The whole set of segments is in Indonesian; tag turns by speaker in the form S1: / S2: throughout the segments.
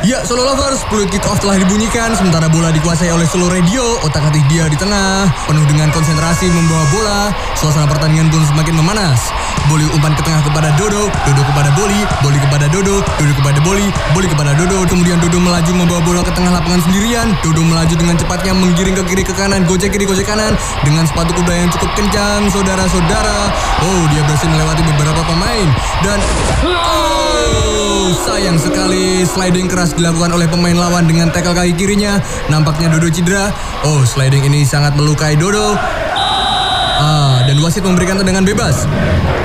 S1: Ya, Solo Lovers, peluit kick off telah dibunyikan sementara bola dikuasai oleh Solo Radio, otak atik dia di tengah, penuh dengan konsentrasi membawa bola, suasana pertandingan pun semakin memanas. Boli umpan ke tengah kepada Dodo, Dodo kepada Boli, Boli kepada Dodo, Dodo kepada Boli, Boli kepada Dodo, kemudian Dodo melaju membawa bola ke tengah lapangan sendirian, Dodo melaju dengan cepatnya menggiring ke kiri ke kanan, gojek kiri gojek kanan, dengan sepatu kuda yang cukup kencang, saudara-saudara. Oh, dia berhasil melewati beberapa pemain, dan... Oh, sayang sekali sliding keras dilakukan oleh pemain lawan dengan tackle kaki kirinya. Nampaknya Dodo cedera. Oh, sliding ini sangat melukai Dodo. Ah, dan wasit memberikan tendangan bebas.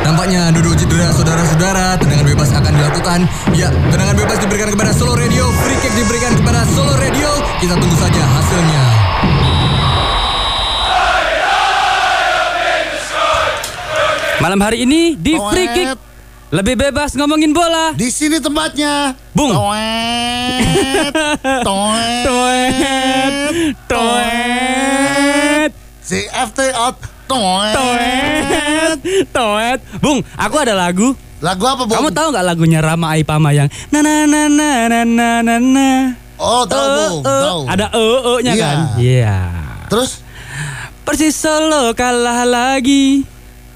S1: Nampaknya Dodo cedera, saudara-saudara. Tendangan bebas akan dilakukan. Ya, tendangan bebas diberikan kepada Solo Radio. Free kick diberikan kepada Solo Radio. Kita tunggu saja hasilnya.
S2: Malam hari ini di
S3: Toet.
S2: Free Kick lebih bebas ngomongin bola.
S3: Di sini tempatnya.
S2: Bung.
S3: Toet. Toet.
S2: Toet, toet,
S3: CFT out. Toet.
S2: toet, toet. Bung, aku ada lagu.
S3: Lagu apa, Bung?
S2: Kamu tahu nggak lagunya Rama Aipama yang na na na na na na na na.
S3: Oh, tahu,
S2: Eh,
S3: Bung.
S2: eh.
S3: Tahu.
S2: Ada e nya
S3: Iya.
S2: kan? Iya.
S3: Terus
S2: Persis Solo kalah lagi.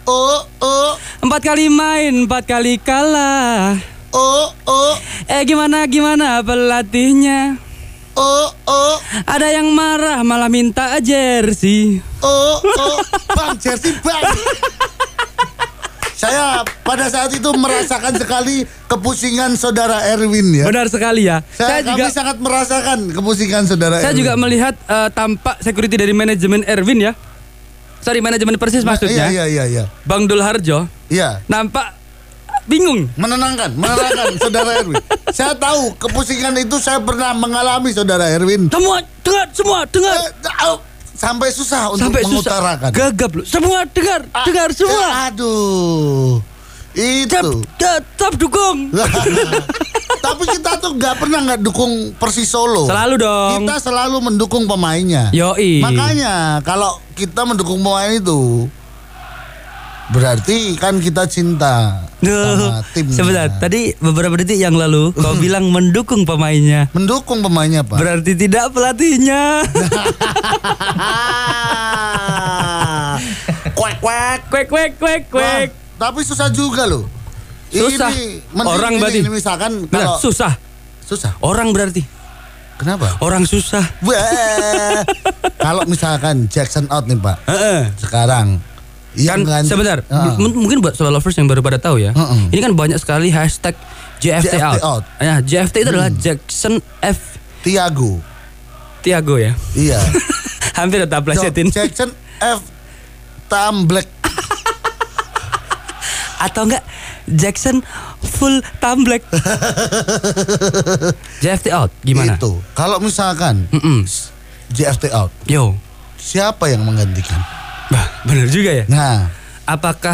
S3: oh oh
S2: Empat kali main, empat kali kalah.
S3: oh oh
S2: Eh gimana gimana pelatihnya?
S3: oh oh
S2: Ada yang marah malah minta jersey.
S3: oh oh Bang jersey Bang. Saya pada saat itu merasakan sekali kepusingan saudara Erwin ya.
S2: Benar sekali ya.
S3: Saya, kami sangat merasakan kepusingan saudara
S2: Saya
S3: Erwin.
S2: juga melihat eh, tampak security dari manajemen Erwin ya. Sorry, manajemen Persis maksudnya.
S3: Iya, iya, iya, iya.
S2: Bang Dul Harjo
S3: Iya.
S2: nampak bingung.
S3: Menenangkan, menenangkan saudara Erwin. Saya tahu kepusingan itu saya pernah mengalami saudara Erwin.
S2: Semua dengar, semua dengar.
S3: Eh, au, Sampai susah untuk
S2: Sampai susah.
S3: mengutarakan.
S2: Gagap lu. Semua dengar,
S3: Ah,
S2: dengar semua.
S3: eh, Aduh.
S2: Tetap,
S3: Itu.
S2: tetap dukung.
S3: Tapi kita tuh nggak pernah nggak dukung Persis Solo.
S2: Selalu dong.
S3: Kita selalu mendukung pemainnya.
S2: Yoi.
S3: Makanya kalau kita mendukung pemain itu berarti kan kita cinta
S2: Duh,
S3: sama timnya.
S2: sebentar. Tadi beberapa detik yang lalu kau bilang mendukung pemainnya.
S3: Mendukung pemainnya pak.
S2: Berarti tidak pelatihnya.
S3: Kuek kuek.
S2: Kwek kwek kwek
S3: Wah,
S2: kwek.
S3: Tapi susah juga loh.
S2: Susah.
S3: Ini, mending
S2: Orang
S3: ini,
S2: berarti.
S3: ini misalkan kalau
S2: Benar, susah.
S3: susah.
S2: Orang berarti.
S3: Kenapa?
S2: Orang susah.
S3: Wah. kalau misalkan Jackson out nih pak.
S2: Heeh.
S3: Sekarang. Iya
S2: kan
S3: kan?
S2: sebentar
S3: Heeh.
S2: M- mungkin buat solo lovers yang baru pada tahu ya
S3: Mm-mm.
S2: ini kan banyak sekali hashtag JFT,
S3: JFT
S2: out.
S3: out. Hmm.
S2: ya JFT itu adalah Jackson F
S3: Tiago.
S2: Tiago ya
S3: Iya.
S2: hampir tetap plesetin
S3: Jackson F. Tamblek.
S2: atau enggak Jackson full tamblek JFT out gimana
S3: Itu. Kalau misalkan
S2: Mm-mm.
S3: JFT out,
S2: yo
S3: siapa yang menggantikan?
S2: bah bener juga ya
S3: Nah,
S2: apakah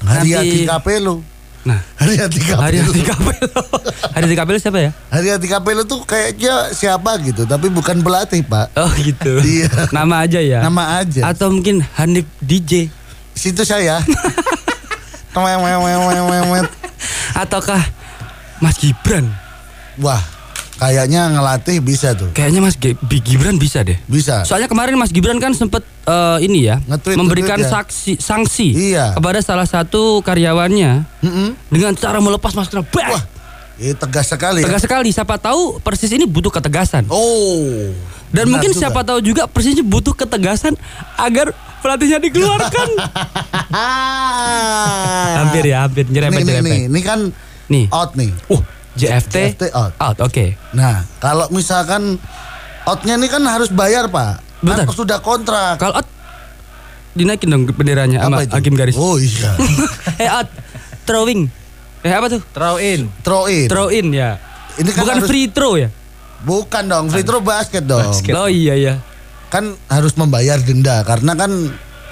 S3: Haryati
S2: Nanti-
S3: Kapelo.
S2: nah
S3: Haryati
S2: hari
S3: Kapelo.
S2: di Kapelo hari di Kapelo siapa ya
S3: Haryati Kapelo tuh kayaknya siapa gitu, tapi bukan pelatih, Pak.
S2: oh gitu
S3: Iya.
S2: nama aja ya
S3: Nama aja.
S2: atau mungkin Hanif DJ
S3: Situ saya. Temewewewewewewet.
S2: ataukah Mas Gibran
S3: Wah, kayaknya ngelatih bisa tuh.
S2: Kayaknya Mas Ge- Bi- Gibran bisa deh.
S3: Bisa.
S2: Soalnya kemarin Mas Gibran kan sempat ini ya
S3: Nge-tweet,
S2: memberikan
S3: nge-tweet ya.
S2: saksi sanksi
S3: Iya.
S2: kepada salah satu karyawannya
S3: Mm-mm.
S2: dengan cara melepas masker. Bah!
S3: Wah, ini tegas sekali. ya.
S2: Tegas sekali. Siapa tahu Persis ini butuh ketegasan.
S3: Oh.
S2: Dan
S3: benar
S2: mungkin
S3: juga.
S2: siapa tahu juga Persis ini butuh ketegasan agar pelatihnya dikeluarkan.
S3: Ah.
S2: hampir ya, hampir nyerempet
S3: Nih, nih, nih,
S2: nyerempet.
S3: ini kan
S2: Nih.
S3: out nih.
S2: Uh, JFT,
S3: JFT out.
S2: Oke.
S3: Nah, kalau misalkan outnya ini kan harus bayar pak. Kan
S2: Bentar.
S3: sudah kontrak.
S2: Kalau out dinaikin dong benderanya sama hakim garis.
S3: Oh iya.
S2: eh out throwing. Eh apa tuh?
S4: Throw in.
S3: throw in.
S2: Throw in ya.
S3: Ini kan
S2: Bukan
S3: harus-
S2: free throw ya?
S3: Bukan dong, free throw basket dong.
S4: Basket.
S2: Oh iya iya.
S3: Kan harus membayar denda karena kan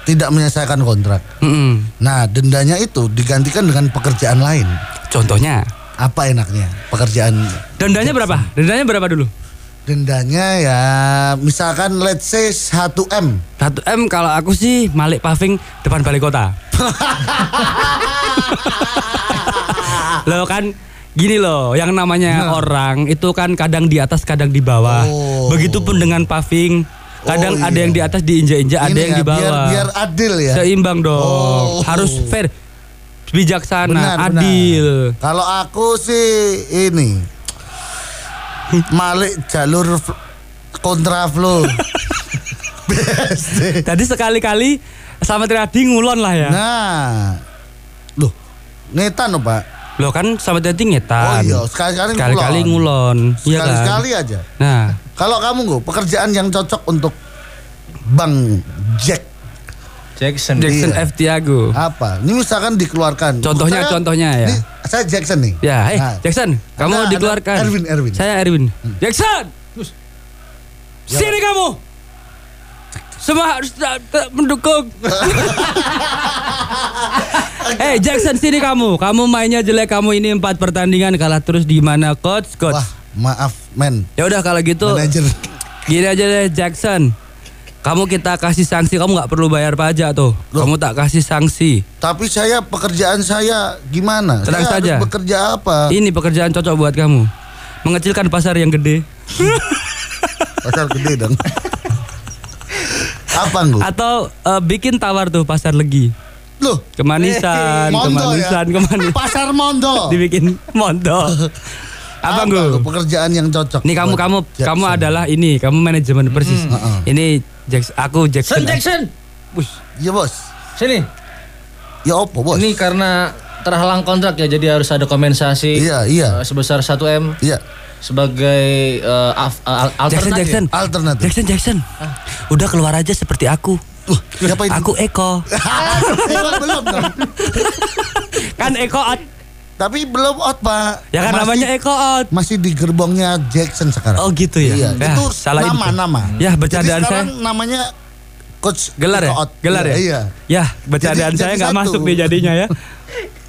S3: tidak menyelesaikan kontrak.
S2: Mm-mm.
S3: Nah, dendanya itu digantikan dengan pekerjaan lain.
S2: Contohnya.
S3: Apa enaknya pekerjaan?
S2: Dendanya berapa? Dendanya berapa dulu?
S3: Dendanya ya misalkan let's say 1M.
S2: 1M kalau aku sih Malik Paving depan balai kota. Lo kan Gini loh, yang namanya orang itu kan kadang di atas, kadang di bawah.
S3: Nah. Oh.
S2: Begitupun dengan paving, kadang
S3: Oh,
S2: ada
S3: iya.
S2: yang di atas diinjak-injak, ada
S3: Ini
S2: yang
S3: ya,
S2: di bawah.
S3: Biar, biar adil ya.
S2: Seimbang dong.
S3: Oh.
S2: Harus fair, bijaksana,
S3: Benar, benar.
S2: adil.
S3: Kalau aku sih ini malik jalur f- kontraflow. Best deh.
S2: Tadi sekali-kali sama Triadi ngulon lah ya.
S3: Nah, loh, ngetan loh pak.
S2: Loh kan sama Triadi
S3: Oh
S2: ngetan.
S3: iya, sekali-kali ngulon.
S2: Sekali-kali ngulon. Iya kan?
S3: Sekali-sekali aja.
S2: Nah,
S3: Kalau kamu nggak pekerjaan yang cocok untuk Bang Jack
S4: Jackson.
S2: Jackson
S3: Iya.
S2: F. Tiago.
S3: apa? Ini misalkan dikeluarkan.
S2: Contohnya-
S3: Saya-
S2: contohnya ya.
S3: ini saya Jackson nih.
S2: Ya, eh
S3: Nah,
S2: Jackson, kamu
S3: Ada- ada
S2: dikeluarkan.
S3: Erwin, Erwin. Hmm.
S2: Saya Erwin. Jackson. Sini kamu. Semua harus ta- ta- mendukung. Eh Jackson sini kamu. Kamu mainnya jelek kamu ini empat pertandingan kalah terus di mana coach coach.
S3: Wah, maaf men.
S2: Ya udah kalau gitu
S3: Manajer.
S2: gini aja deh Jackson. Kamu kita kasih sanksi kamu nggak perlu bayar pajak tuh.
S3: Loh.
S2: Kamu tak kasih sanksi.
S3: Tapi saya pekerjaan saya gimana?
S2: Tenang
S3: saya
S2: saja. Iya.
S3: harus bekerja apa?
S2: Ini pekerjaan cocok buat kamu. Mengecilkan pasar yang gede.
S3: Pasar gede dong. apa nggak?
S2: Atau eh, bikin tawar tuh pasar legi.
S3: Loh,
S2: Kemanisan,
S3: Mondo ya?
S2: kemanisan, kemanisan.
S3: Pasar Mondo.
S2: Dibikin mondo.
S3: Oh. Apa
S2: Abang gue.
S3: nggak pekerjaan yang cocok.
S2: Nih kamu
S3: buat
S2: kamu
S3: Jackson? Hmm. Ah,
S2: kamu adalah ini, kamu manajemen persis. Ini Jackson, aku
S4: Sen
S2: Jackson.
S4: Jackson.
S2: Wih,
S3: Iya bos.
S4: Sini.
S3: Ya opo bos.
S4: Ini karena terhalang kontrak ya jadi harus ada kompensasi.
S3: Iya, iya.
S2: Oh,
S4: eh, sebesar 1M
S3: Iya.
S4: sebagai eh, af- al-
S2: Jackson,
S4: alternatif.
S2: Jackson.
S3: Alternatif.
S2: Jackson, Jackson. Udah keluar aja seperti aku.
S3: Wah, siapa Ah. itu?
S2: Aku Eko.
S3: Emang belum dong.
S2: kan Eko out.
S3: Tapi belum out pak.
S2: Ya kan
S3: Masih-
S2: namanya Eko out.
S3: Masih di gerbongnya Jackson sekarang.
S2: Oh gitu ya.
S3: Iya.
S2: Ya,
S3: itu
S2: salah
S3: nama
S2: info.
S3: nama.
S2: Ya, bercandaan
S3: Jadi sekarang namanya Coach
S2: Gelar ya?
S3: Out.
S2: Gelar ya?
S3: Iya.
S2: Ya, bercandaan
S3: Jadi-
S2: saya
S3: jadi
S2: nggak
S3: satu.
S2: masuk nih jadinya ya.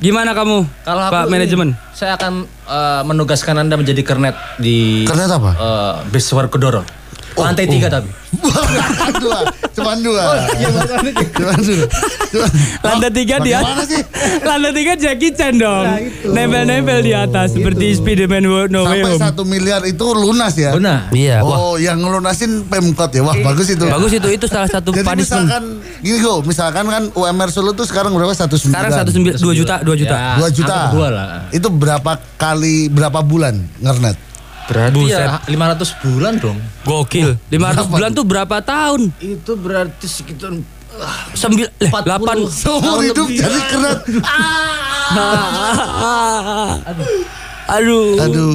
S2: Gimana kamu,
S4: Kalau aku
S2: Pak
S4: ini,
S2: Manajemen?
S4: saya akan eh, menugaskan Anda menjadi kernet di
S3: Kernet apa?
S4: eh, Base Warkodoro. Lantai tiga tapi.
S3: Cuman dua, cuman dua. cuman dua. Cuman.
S2: Oh, iya, Lantai tiga dia.
S3: Bagaimana sih? Nah,
S2: Lantai tiga Jackie Chan dong. Nempel-nempel di atas seperti Spiderman Wo- No Way
S3: Gitu. Sampai
S2: Home.
S3: satu miliar itu lunas ya.
S4: Benar.
S2: Iya, wah.
S3: Oh, yang ngelunasin Pemkot ya. Wah, bagus itu.
S2: Bagus itu itu salah satu
S3: Jadi
S2: punishment.
S3: misalkan gini go, misalkan kan UMR Solo tuh sekarang berapa? 1,9.
S2: Sekarang satu sembilan dua juta dua juta.
S4: Ya.
S3: 2 juta.
S4: Angka kedua lah.
S3: Itu berapa kali berapa bulan ngernet?
S4: Berarti
S2: Buset.
S4: ya 500 bulan dong.
S2: Gokil. 500 bulan tuh berapa tahun?
S4: Itu berarti sekitar ah,
S2: Sembil, eh,
S4: 40.
S2: delapan.
S3: Seumur
S4: Tahun
S3: hidup
S4: lebih.
S3: jadi kernet.
S2: Aduh.
S3: Aduh.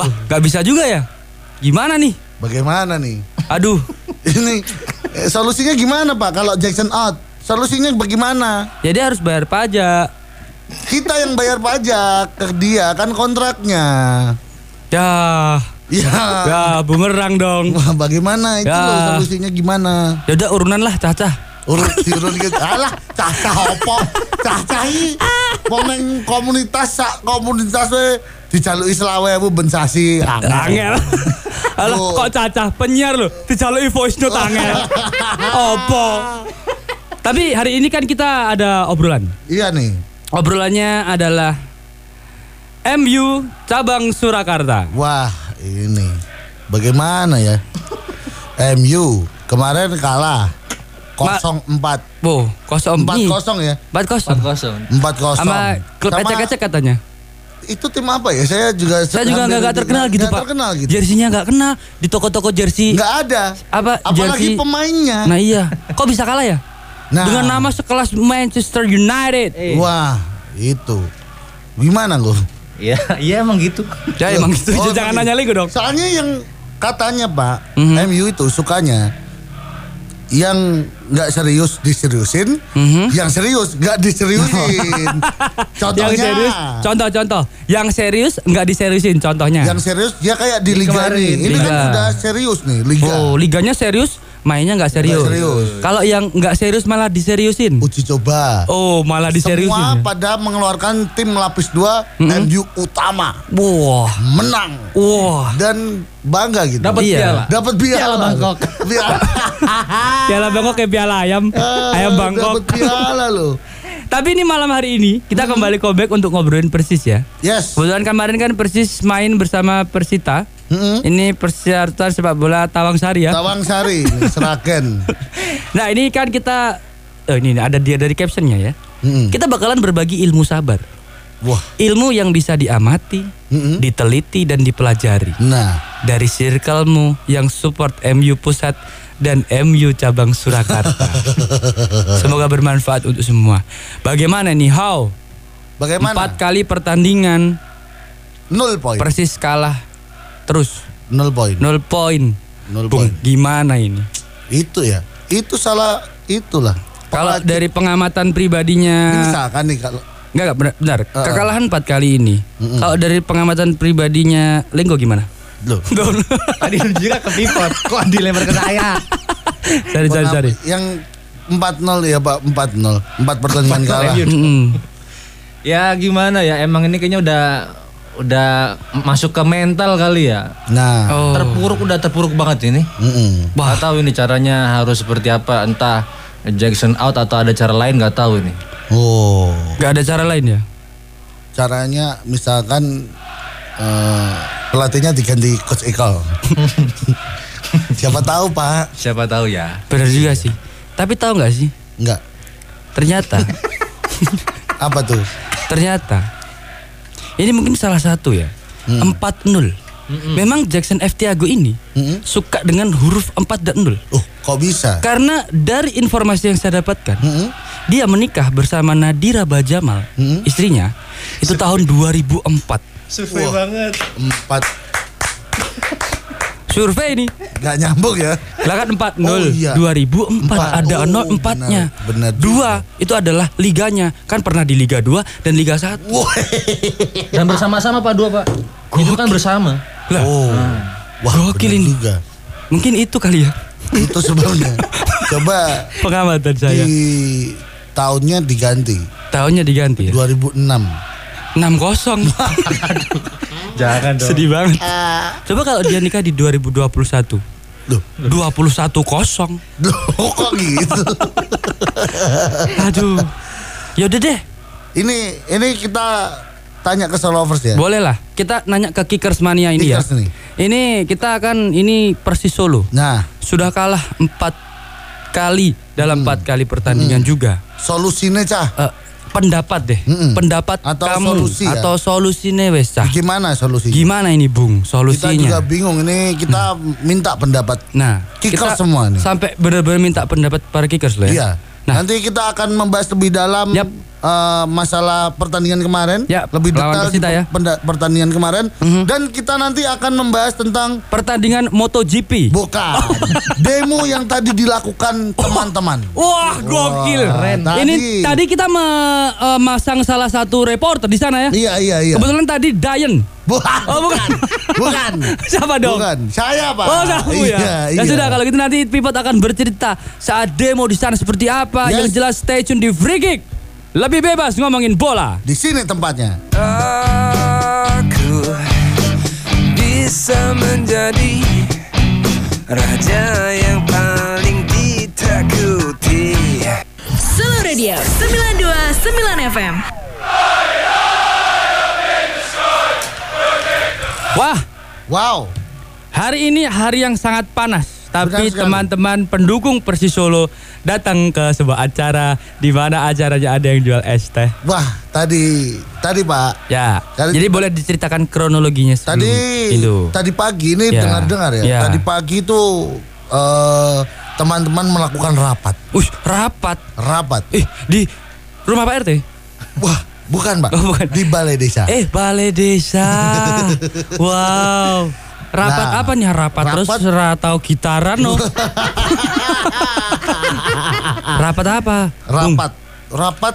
S2: Wah, gak bisa juga ya? Gimana nih?
S3: Bagaimana nih?
S2: Aduh.
S3: Ini eh, solusinya gimana Pak kalau Jackson out? Solusinya bagaimana?
S2: Jadi Ya harus bayar pajak.
S3: Kita yang bayar pajak ke dia kan kontraknya.
S2: Ya.
S3: Ya.
S2: Ya, bumerang dong.
S3: Wah, bagaimana itu
S2: Ya.
S3: loh solusinya gimana?
S2: Ya udah urunan lah, Caca.
S3: urut diurut gitu alah cacah opo cacah i wong neng komunitas sak komunitas we dijaluki selawe bu bensasi
S2: Angel. Alah,
S3: Oh.
S2: kok Caca penyiar loh. Dijaluki voice note angel. Opo. Tapi hari ini kan kita ada obrolan.
S3: iya nih
S2: Obrolannya adalah MU cabang Surakarta.
S3: wah ini bagaimana ya MU kemarin kalah 04 4
S2: Bo, kosong nih.
S3: 0 ya
S2: Empat kosong.
S4: 40.
S3: 4 0
S2: Sama klub ecek-ecek katanya.
S3: itu tim apa ya saya juga
S2: Saya juga nggak nggak terkenal gitu
S3: nggak
S2: pak.
S3: terkenal gitu
S2: Jersinya nggak kenal di toko-toko jersey.
S3: nggak ada
S2: Apa,
S3: apalagi
S2: jersey-
S3: pemainnya
S2: Nah iya, kok bisa kalah ya?
S3: Nah.
S2: Dengan nama sekelas Manchester United.
S3: Wah, itu. Gimana lu?
S4: Iya, iya emang gitu.
S2: Ya emang gitu,
S3: Oh,
S2: jangan
S3: emang
S2: nanya lagi dong.
S3: Soalnya yang katanya Pak,
S2: Mhm.
S3: MU itu sukanya yang nggak serius diseriusin,
S2: Mhm.
S3: yang serius nggak diseriusin. Contohnya,
S2: Yang serius, contoh-contoh. Yang serius nggak diseriusin contohnya.
S3: yang serius dia kayak di liga
S4: Kemarin,
S3: nih. Ini kan
S2: Liga.
S3: sudah serius nih liga.
S2: Oh, liganya serius, mainnya nggak serius.
S3: Nggak serius.
S2: Kalau yang nggak serius malah diseriusin.
S3: Uji coba.
S2: Oh, malah
S3: Semua
S2: diseriusin. ya?
S3: pada mengeluarkan tim lapis dua
S2: Mhm.
S3: MU utama
S2: Wah,
S3: menang
S2: wah.
S3: dan bangga gitu.
S4: Dapat
S2: Iya.
S4: piala.
S3: Dapat piala.
S4: Piala Bangkok.
S3: Piala. Ah. Eh,
S2: Piala Bangkok kayak piala ayam, ayam Bangkok.
S3: Dapat piala loh.
S2: Tapi ini malam hari ini kita
S3: Hmm.
S2: kembali comeback untuk ngobrolin Persis ya.
S3: Yes.
S2: Kebetulan kemarin kan Persis main bersama Persita.
S3: Mm-mm.
S2: Ini persyaratan sepak bola Tawang Sari ya.
S3: Hmm? Tawang Sari, Seragen.
S2: Nah ini kan kita, oh, ini ada dia dari captionnya ya.
S3: Mm-mm.
S2: Kita bakalan berbagi ilmu sabar,
S3: Wah.
S2: ilmu yang bisa diamati,
S3: Mm-mm.
S2: diteliti dan dipelajari
S3: Nah,
S2: dari circlemu yang support MU pusat dan MU cabang Surakarta. Semoga bermanfaat untuk semua. Bagaimana nih How? Empat
S3: bagaimana? Oh, iya.
S2: kali pertandingan
S3: Nol poin.
S2: persis kalah terus
S3: Nol poin.
S2: nol poin.
S3: Nol
S2: Bung,
S3: poin.
S2: gimana ini?
S3: Itu ya. Itu salah itulah.
S2: Kalau
S3: Pelati-
S2: dari
S3: Ini
S2: pengamatan pribadinya
S3: misalkan nih kalau
S2: Enggak, enggak benar. benar. Kekalahan empat kali ini. Kalau dari pengamatan pribadinya Lenggo gimana?
S3: loh.
S4: Tadi Jira ke pivot, kok dilempar ke saya?
S2: Dari dari
S3: pengam-
S2: dari.
S3: Yang 4-0 ya Pak, 4-0. 4 pertandingan kalah.
S2: Iya. Mm-mm.
S4: Ya gimana ya, emang ini kayaknya udah udah masuk ke mental kali ya.
S3: Nah,
S2: Oh.
S4: Terpuruk udah terpuruk banget ini.
S3: mm-mm.
S2: Wah.
S4: Gak tahu ini caranya harus seperti apa, entah Jackson out atau ada cara lain nggak tahu ini.
S3: Oh,
S2: Enggak ada cara lain ya?
S3: caranya misalkan eh, pelatihnya diganti coach Eko. Siapa tahu, Pak.
S4: Siapa tahu ya.
S2: Benar juga sih. Tapi tahu nggak sih?
S3: Enggak.
S2: Ternyata
S3: Apa tuh?
S2: ternyata ini mungkin salah satu ya. 4-0. Memang Jackson F. Tiago ini
S3: Mm-mm.
S2: suka dengan huruf 4 dan 0.
S3: Oh, kok bisa?
S2: Karena dari informasi yang saya dapatkan,
S3: Mm-mm.
S2: dia menikah bersama Nadira Bajamal, istrinya, itu tahun 2004.
S4: Survei banget.
S3: Empat
S2: Survei ini,
S3: nggak nyambung ya?
S2: lah kan 4
S3: Oh, iya.
S2: 2004
S3: Empat. Oh,
S2: ada nol empatnya.
S3: benar, benar
S2: Dua itu adalah liganya, kan pernah di Liga 2 dan Liga 1. Iya.
S4: Dan bersama-sama Pak dua Pak. Itu kan bersama.
S2: Lah,
S3: Oh, wah, benar
S2: Gokil ini.
S3: juga.
S2: mungkin itu kali ya
S3: Itu sebelumnya. Coba
S2: pengamatan saya.
S3: di tahunnya diganti
S2: Tahunnya diganti ya.
S3: 2006.
S2: 60.
S4: Jangan
S2: Sedih banget. Coba kalau dia nikah di 2021.
S3: Loh,
S2: 21 kosong.
S3: loh kok gitu?
S2: Aduh. Yaudah deh,
S3: ini ini kita tanya ke Solovers ya.
S2: boleh lah. Kita nanya ke Kickers Mania ini
S3: Kickers
S2: ya.
S3: nih.
S2: Ini kita akan ini Persis Solo.
S3: Nah,
S2: Sudah kalah 4 kali
S3: Hmm.
S2: dalam empat kali pertandingan juga.
S3: solusinya cah.
S2: Eh, pendapat deh,
S3: Mm-mm.
S2: pendapat
S3: Hmm. Atau
S2: kamu
S3: solusi ya.
S2: atau solusinya wes Cah.
S3: Gimana solusinya?
S2: Gimana ini Bung
S3: Kita
S2: Ah. solusinya? Hmm.
S3: juga bingung ini kita minta pendapat.
S2: Nah,
S3: Kickers semua nih.
S2: Sampai benar-benar minta pendapat para kickers loh ya.
S3: Iya.
S2: Nah,
S3: Nanti kita akan membahas lebih dalam
S2: Yap.
S3: eh, masalah pertandingan kemarin,
S2: Ya,
S3: lebih detail
S2: lawan
S3: di
S2: Persita ya. Mhm.
S3: penda- pertandingan kemarin dan kita nanti akan membahas tentang
S2: pertandingan MotoGP.
S3: bukan demo yang tadi dilakukan teman-teman.
S2: Wah, gokil.
S3: Keren.
S2: Ini
S3: Tadi-
S2: tadi kita memasang salah satu reporter di sana ya.
S3: Iya, iya, iya.
S2: Kebetulan tadi Dayan.
S3: Bukan.
S2: Oh, bukan.
S3: bukan.
S2: Siapa dong?
S3: Bukan. Saya, Pak.
S2: Oh, kamu ya.
S3: Iya,
S2: Ya
S3: iya.
S2: sudah kalau gitu nanti Pipot akan bercerita saat demo di sana seperti apa.
S3: Yes.
S2: Yang jelas stay tune di Free Kick. Lebih bebas ngomongin bola.
S3: Di sini tempatnya.
S5: Aku bisa menjadi raja yang paling ditakuti.
S6: Solo Radio 92.9 FM
S2: Wah,
S3: Wow.
S2: Hari ini hari yang sangat panas, tapi
S3: Benar sekali.
S2: teman-teman pendukung Persis Solo datang ke sebuah acara di mana acaranya ada yang jual es teh.
S3: Wah, tadi tadi Pak.
S2: Ya.
S3: Kali-
S2: Jadi boleh diceritakan kronologinya sebelum
S3: Tadi
S2: itu.
S3: tadi pagi ini
S2: Hmm, Ya.
S3: dengar-dengar ya.
S2: Ya.
S3: Tadi pagi itu eh, teman-teman melakukan rapat.
S2: Ush, rapat.
S3: Rapat.
S2: Eh, di rumah Pak RT.
S3: Wah, bukan, Pak.
S2: Oh, bukan.
S3: Di Balai Desa.
S2: Eh, Balai Desa. wow. Rapat
S3: Nah,
S2: apa nih rapat, terus
S3: rapat-
S2: ratau gitaran loh. rapat apa? Hmm. Bung?
S3: rapat. Rapat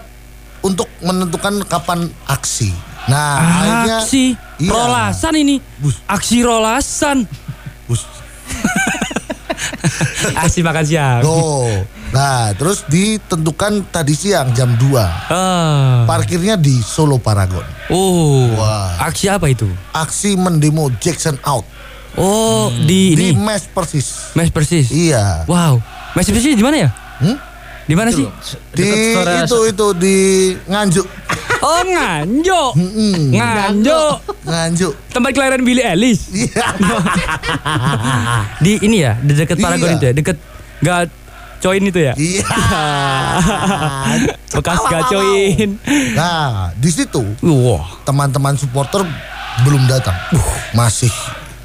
S3: untuk menentukan kapan aksi. Nah, akhirnya
S2: Ah, Aksi
S3: Iya.
S2: rolasan ini.
S3: Bus.
S2: Aksi rolasan.
S3: Bus.
S2: Aksi makan siang.
S3: Tuh. Nah, terus ditentukan tadi siang jam 2.
S2: Ah.
S3: Parkirnya di Solo Paragon.
S2: Oh.
S3: Wah.
S2: Aksi apa itu?
S3: Aksi mendemo Jackson out
S2: Oh, di ini
S3: Hmm. di mes persis.
S2: mes persis.
S3: Iya.
S2: Wow. Mes persis di mana ya?
S3: Hmm?
S2: Di mana sih?
S3: Di
S4: Dekat suara
S3: itu itu di Nganjuk.
S2: Oh Nganjuk.
S3: Hmm.
S2: Nganjuk.
S3: Nganjuk.
S2: Tempat kelahiran Billy Ellis.
S3: Iya.
S2: Di ini ya, di dekat Paragon
S3: Iya.
S2: itu ya, dekat Gat Coin itu ya.
S3: Iya.
S2: Bekas gacoin.
S3: Nah, di situ
S2: Wah,
S3: teman-teman supporter belum datang. Uh, Masih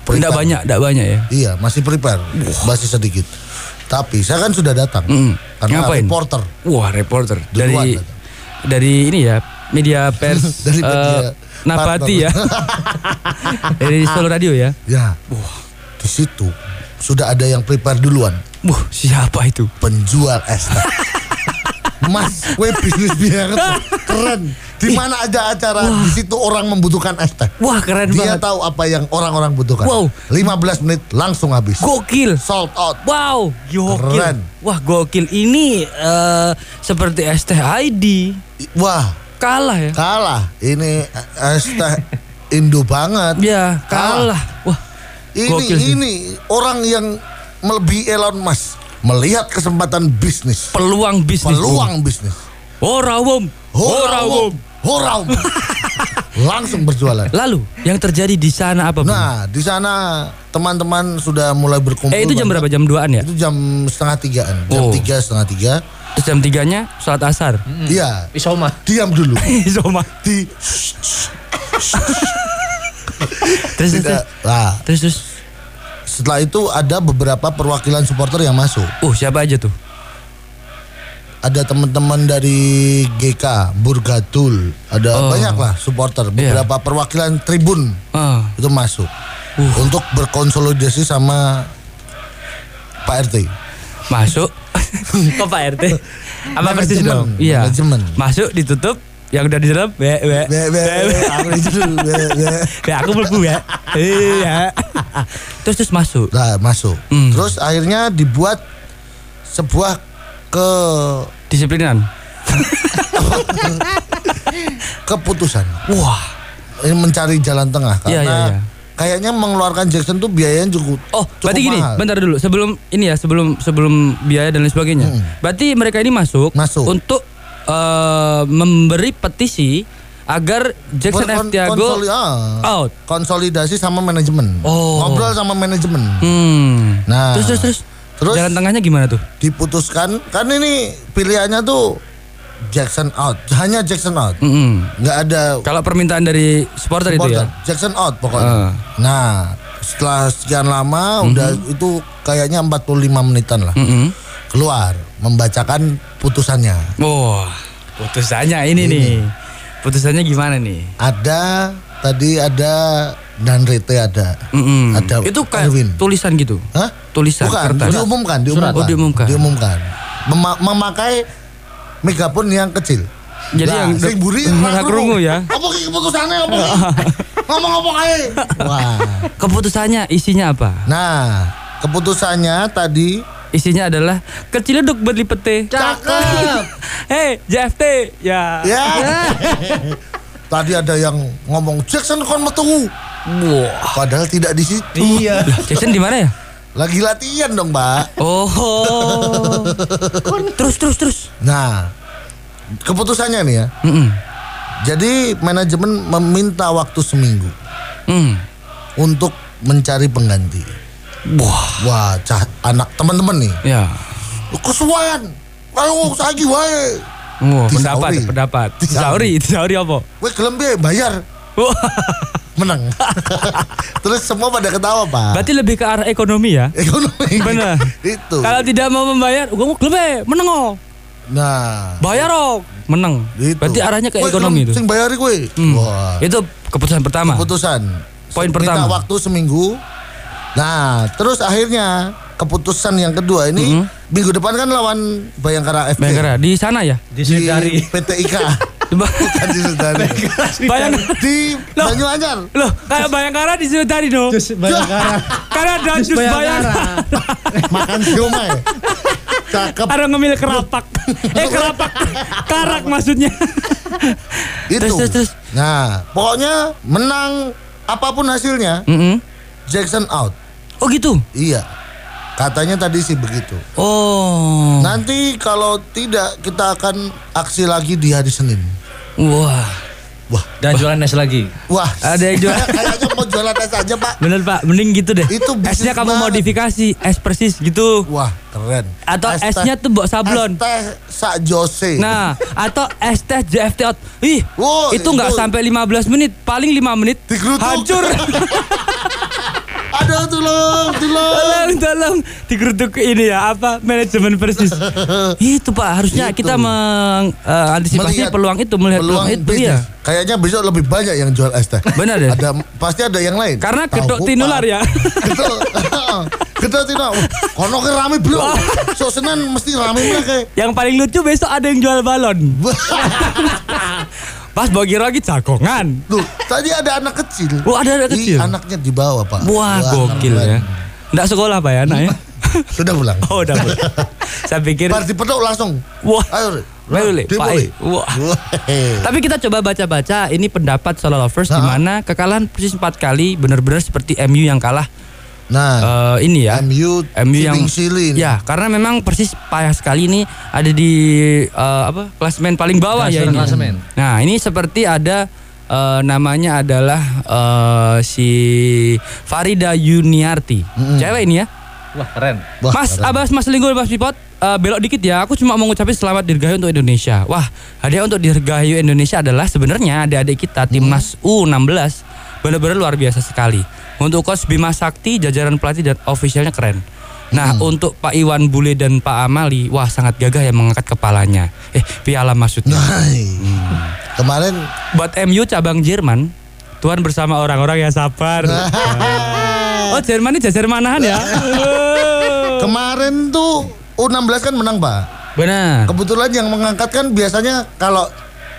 S3: prepare.
S2: tidak banyak, Uh. tidak banyak ya.
S3: Iya, masih prepare. Masih sedikit. Tapi saya kan sudah datang.
S2: Mm.
S3: Karena
S2: Ngapain?
S3: reporter
S2: Wah, reporter
S3: Duluan
S2: dari
S3: datang.
S2: dari ini ya, media pers
S3: Dari
S2: eh,
S3: media
S2: Napati ya. dari Solo Radio ya.
S3: Ya. Di situ sudah ada yang prepare duluan.
S2: Wah, siapa itu?
S3: Penjual es teh. Mas, gue bisnis banget. Keren. Di mana ada acara, di situ orang membutuhkan es teh.
S2: Wah, keren
S3: Dia
S2: banget.
S3: tahu apa yang orang-orang butuhkan.
S2: Wow.
S3: 15 menit langsung habis.
S2: Gokil.
S3: Sold out.
S2: Wow, gokil.
S3: Keren.
S2: Wah, gokil. Ini eh, seperti STID.
S3: Wah,
S2: Kalah ya.
S3: kalah. Ini es teh Indo banget.
S2: Ya, kalah. Wah.
S3: Ini
S2: gokil sih.
S3: ini orang yang melebihi Elon Musk melihat kesempatan bisnis,
S2: Peluang bisnis.
S3: peluang bisnis.
S2: Om. Ora wom. Ora wom.
S3: Horaum. Langsung berjualan.
S2: Lalu, yang terjadi di sana apa, Bang?
S3: Nah, di sana teman-teman sudah mulai berkumpul.
S2: eh, itu jam berapa?
S3: banyak.
S2: Jam 2-an ya?
S3: Itu jam setengah tigaan, jam
S2: Oh.
S3: tiga setengah tiga.
S2: Terus jam 3-nya sholat asar.
S3: Iya,
S4: Isoma.
S3: diam dulu.
S2: Isoma.
S3: Di
S2: Terus, terus,
S3: tidak.
S2: terus,
S3: Nah,
S2: terus, terus.
S3: setelah itu ada beberapa perwakilan supporter yang masuk.
S2: Uh, siapa aja tuh?
S3: ada teman-teman dari GK, Burgatul, ada
S2: Oh.
S3: banyak lah supporter, beberapa perwakilan tribun
S2: Ah,
S3: itu masuk untuk berkonsolidasi sama Pak RT.
S2: masuk. Kok Pak RT? Apa persis
S3: Manajemen,
S2: dong? Iya.
S3: manajemen.
S2: Masuk ditutup, yang udah di dalam be be
S3: Be, be, be, aku dulu, be, be.
S2: Ya, aku melbu ya. Iya. terus terus masuk.
S3: Nah, masuk.
S2: Hmm.
S3: Terus akhirnya dibuat sebuah ke
S2: Disiplinan.
S3: keputusan
S2: Wah.
S3: Ini mencari jalan tengah
S2: Iya,
S3: karena
S2: iya, iya.
S3: kayaknya mengeluarkan Jackson tuh biayanya cukup
S2: Oh,
S3: cukup
S2: berarti gini,
S3: mahal.
S2: bentar dulu. Sebelum ini ya, sebelum sebelum biaya dan lain sebagainya. Berarti mereka ini masuk,
S3: Hmm. Masuk.
S2: untuk eh, memberi petisi agar Jackson
S3: Berkon-
S2: F. Tiago
S3: konsoli- ah.
S2: out.
S3: konsolidasi sama manajemen.
S2: Oh.
S3: Ngobrol sama manajemen.
S2: Hmm.
S3: Nah.
S2: Terus terus terus.
S3: Terus
S2: Jalan tengahnya gimana tuh?
S3: diputuskan kan ini pilihannya tuh Jackson out. Hanya Jackson out.
S2: Mm-mm.
S3: nggak ada
S2: Kalau permintaan dari supporter, itu
S3: supporter.
S2: ya.
S3: Jackson out pokoknya.
S2: Ah. Mhm.
S3: Nah, setelah sekian lama udah itu kayaknya 45 menitan lah.
S2: Mm-mm.
S3: Keluar membacakan putusannya.
S2: Wah, putusannya ini, nih. Putusannya gimana nih?
S3: Ada tadi ada dan Rete ada.
S2: Mm-mm.
S3: Ada
S2: Mhm. itu kayak
S3: Erwin.
S2: tulisan gitu.
S3: Hah?
S2: Tulisan
S3: Bukan,
S2: kertas.
S3: diumumkan, diumumkan.
S2: Oh, diumumkan.
S3: Diumumkan. Mema- memakai megapon yang kecil.
S2: Jadi
S3: Lah,
S2: yang
S3: sing buri
S2: ora
S3: ora
S2: krungu ya.
S3: Apa ki keputusannya apa ki? Ngomong-ngomong aja. Wah.
S2: Keputusannya isinya apa?
S3: Nah, keputusannya tadi
S2: Isinya adalah kecil duk beli pete.
S3: Cakep.
S2: Hei, JFT. Ya.
S3: ya. tadi ada yang ngomong Jackson kon metu.
S2: Wah.
S3: Padahal tidak di situ.
S4: Iya.
S2: Jackson di mana ya?
S3: Lagi latihan dong, Mbak.
S2: Oh. terus terus terus.
S3: Nah, keputusannya nih ya.
S2: Mm-mm.
S3: Jadi manajemen meminta waktu seminggu
S2: Mm.
S3: untuk mencari pengganti.
S2: Wah.
S3: Wah, cah, anak teman-teman nih.
S2: Ya.
S3: Kesuaian. Ayo saiki wae.
S2: Wah,
S3: Disauri.
S2: pendapat, pendapat.
S3: Disauri. Ah.
S2: Disauri, disauri apa?
S3: Gue gelem piye, bayar.
S2: Wah.
S3: Menang. Terus semua pada ketawa, Pak.
S2: Berarti lebih ke arah ekonomi ya?
S3: ekonomi.
S2: Bener.
S3: Itu.
S2: Kalau tidak mau membayar, gue mau klebe, meneng oh.
S3: Nah,
S2: Bayar oh, meneng.
S3: itu.
S2: Berarti arahnya ke
S3: Gue gelem
S2: ekonomi itu.
S3: Gitu. Sing bayari gue.
S2: Hmm.
S3: Wah.
S2: Itu keputusan pertama.
S3: Keputusan.
S2: Poin
S3: Minta
S2: pertama.
S3: waktu seminggu. Nah, terus akhirnya keputusan yang kedua ini minggu depan kan lawan Bayangkara FC.
S2: Hmm. Bayangkara di sana ya.
S3: Di
S4: Di Sedari.
S3: PT IK.
S2: Coba.
S3: Bukan di Sudari.
S2: Bayangkara.
S3: Di
S2: Loh.
S3: Banyuanyar.
S2: Loh, kayak Bayangkara di situ tadi dong.
S4: Jus
S7: kan?
S4: Bayangkara.
S2: Karena ada jus Bayangkara.
S3: Makan siomay. Cakep.
S2: Ada ngemil kerapak. eh kerapak. Karak maksudnya.
S3: Itu.
S2: Terus terus terus.
S3: Nah, pokoknya
S2: Hmm.
S3: menang apapun hasilnya,
S2: Mm-mm.
S3: Jackson out.
S2: Oh gitu.
S3: Iya. Katanya tadi sih begitu.
S2: Oh.
S3: Nanti kalau tidak kita akan aksi lagi di hari Senin.
S2: Wah.
S3: Wah,
S4: Dan jualan es lagi.
S3: wah.
S2: Ada yang jual-
S3: Kayaknya mau jualan es aja pak.
S2: Bener Pak, mending gitu deh.
S3: Itu bisnis
S2: Esnya kamu
S3: banget.
S2: modifikasi, es persis gitu.
S3: Wah, keren.
S2: Atau
S3: Es teh-
S2: esnya tuh bawa sablon.
S3: Es teh Sak Jose.
S2: Nah, atau es teh JFT out. Ih,
S3: Wow,
S2: itu
S3: itu.
S2: nggak sampai 15 menit, paling 5 menit
S3: Digerutuk.
S2: hancur.
S3: Aduh, tolong, tolong.
S2: tolong, tolong digerutuk ini ya apa manajemen persis. itu Pak, harusnya
S3: Gitu.
S2: kita mengantisipasi
S3: Melihat
S2: peluang itu melihat peluang, itu
S3: bisnis.
S2: ya.
S3: Kayaknya besok lebih banyak yang jual es teh.
S2: Benar deh.
S3: Ada pasti ada yang lain.
S2: Karena
S3: Tahu
S2: gedok
S3: kupat.
S2: tinular ya.
S3: Gedok. Gedok tinular. Wah, Kono ke rame belum. So Senin mesti rame mana kayak.
S2: Yang paling lucu besok ada yang jual balon. Pas bagi lagi cakongan.
S3: Tuh, tadi ada anak kecil.
S2: Oh, ada anak
S3: Ih,
S2: kecil.
S3: anaknya di bawah, Pak.
S2: Wah, gokil
S3: keren.
S2: ya. Nggak sekolah Pak ya anaknya?
S3: Sudah pulang.
S2: Oh, udah boleh. Saya pikir
S3: Pas dipetok langsung.
S2: Wah.
S3: Ayo, Re.
S2: Ayo, Le.
S3: Dia
S2: Pak,
S3: boleh.
S2: eh. Wah.
S3: Wah.
S2: Tapi kita coba baca-baca ini pendapat solo lovers
S3: Nah.
S2: di mana kekalahan persis 4 kali benar-benar seperti MU yang kalah
S3: Nah,
S2: eh, ini ya.
S3: MU
S2: yang
S3: siling-siling.
S2: Ya,
S4: Iya,
S2: karena memang persis payah sekali ini ada di eh, apa? klasemen paling bawah ya ini.
S4: Klasemen, klasemen.
S2: Nah, ini seperti ada eh, namanya adalah eh, si Farida Yuniarti. Cewek ini ya.
S4: Wah keren.
S3: Wah,
S2: mas
S3: keren.
S2: Abas Mas Linggo Mas Pipot eh, belok dikit ya. Aku cuma mau ngucapin selamat dirgahayu untuk Indonesia. Wah, hadiah untuk dirgahayu Indonesia adalah sebenarnya adik-adik kita
S3: Hmm.
S2: timnas U16 benar-benar luar biasa sekali. Untuk coach Bima Sakti, jajaran pelatih dan officialnya keren. Nah,
S3: Hmm.
S2: untuk Pak Iwan Bule dan Pak Amali, wah sangat gagah yang mengangkat kepalanya. Eh, piala maksudnya.
S3: Nah,
S2: Hmm.
S3: kemarin
S2: Buat MU cabang Jerman, Tuhan bersama orang-orang yang sabar. oh, Jerman ini jajar manahan ya.
S3: kemarin tuh U16 kan menang, Pak.
S2: Benar.
S3: Kebetulan yang mengangkat kan biasanya kalau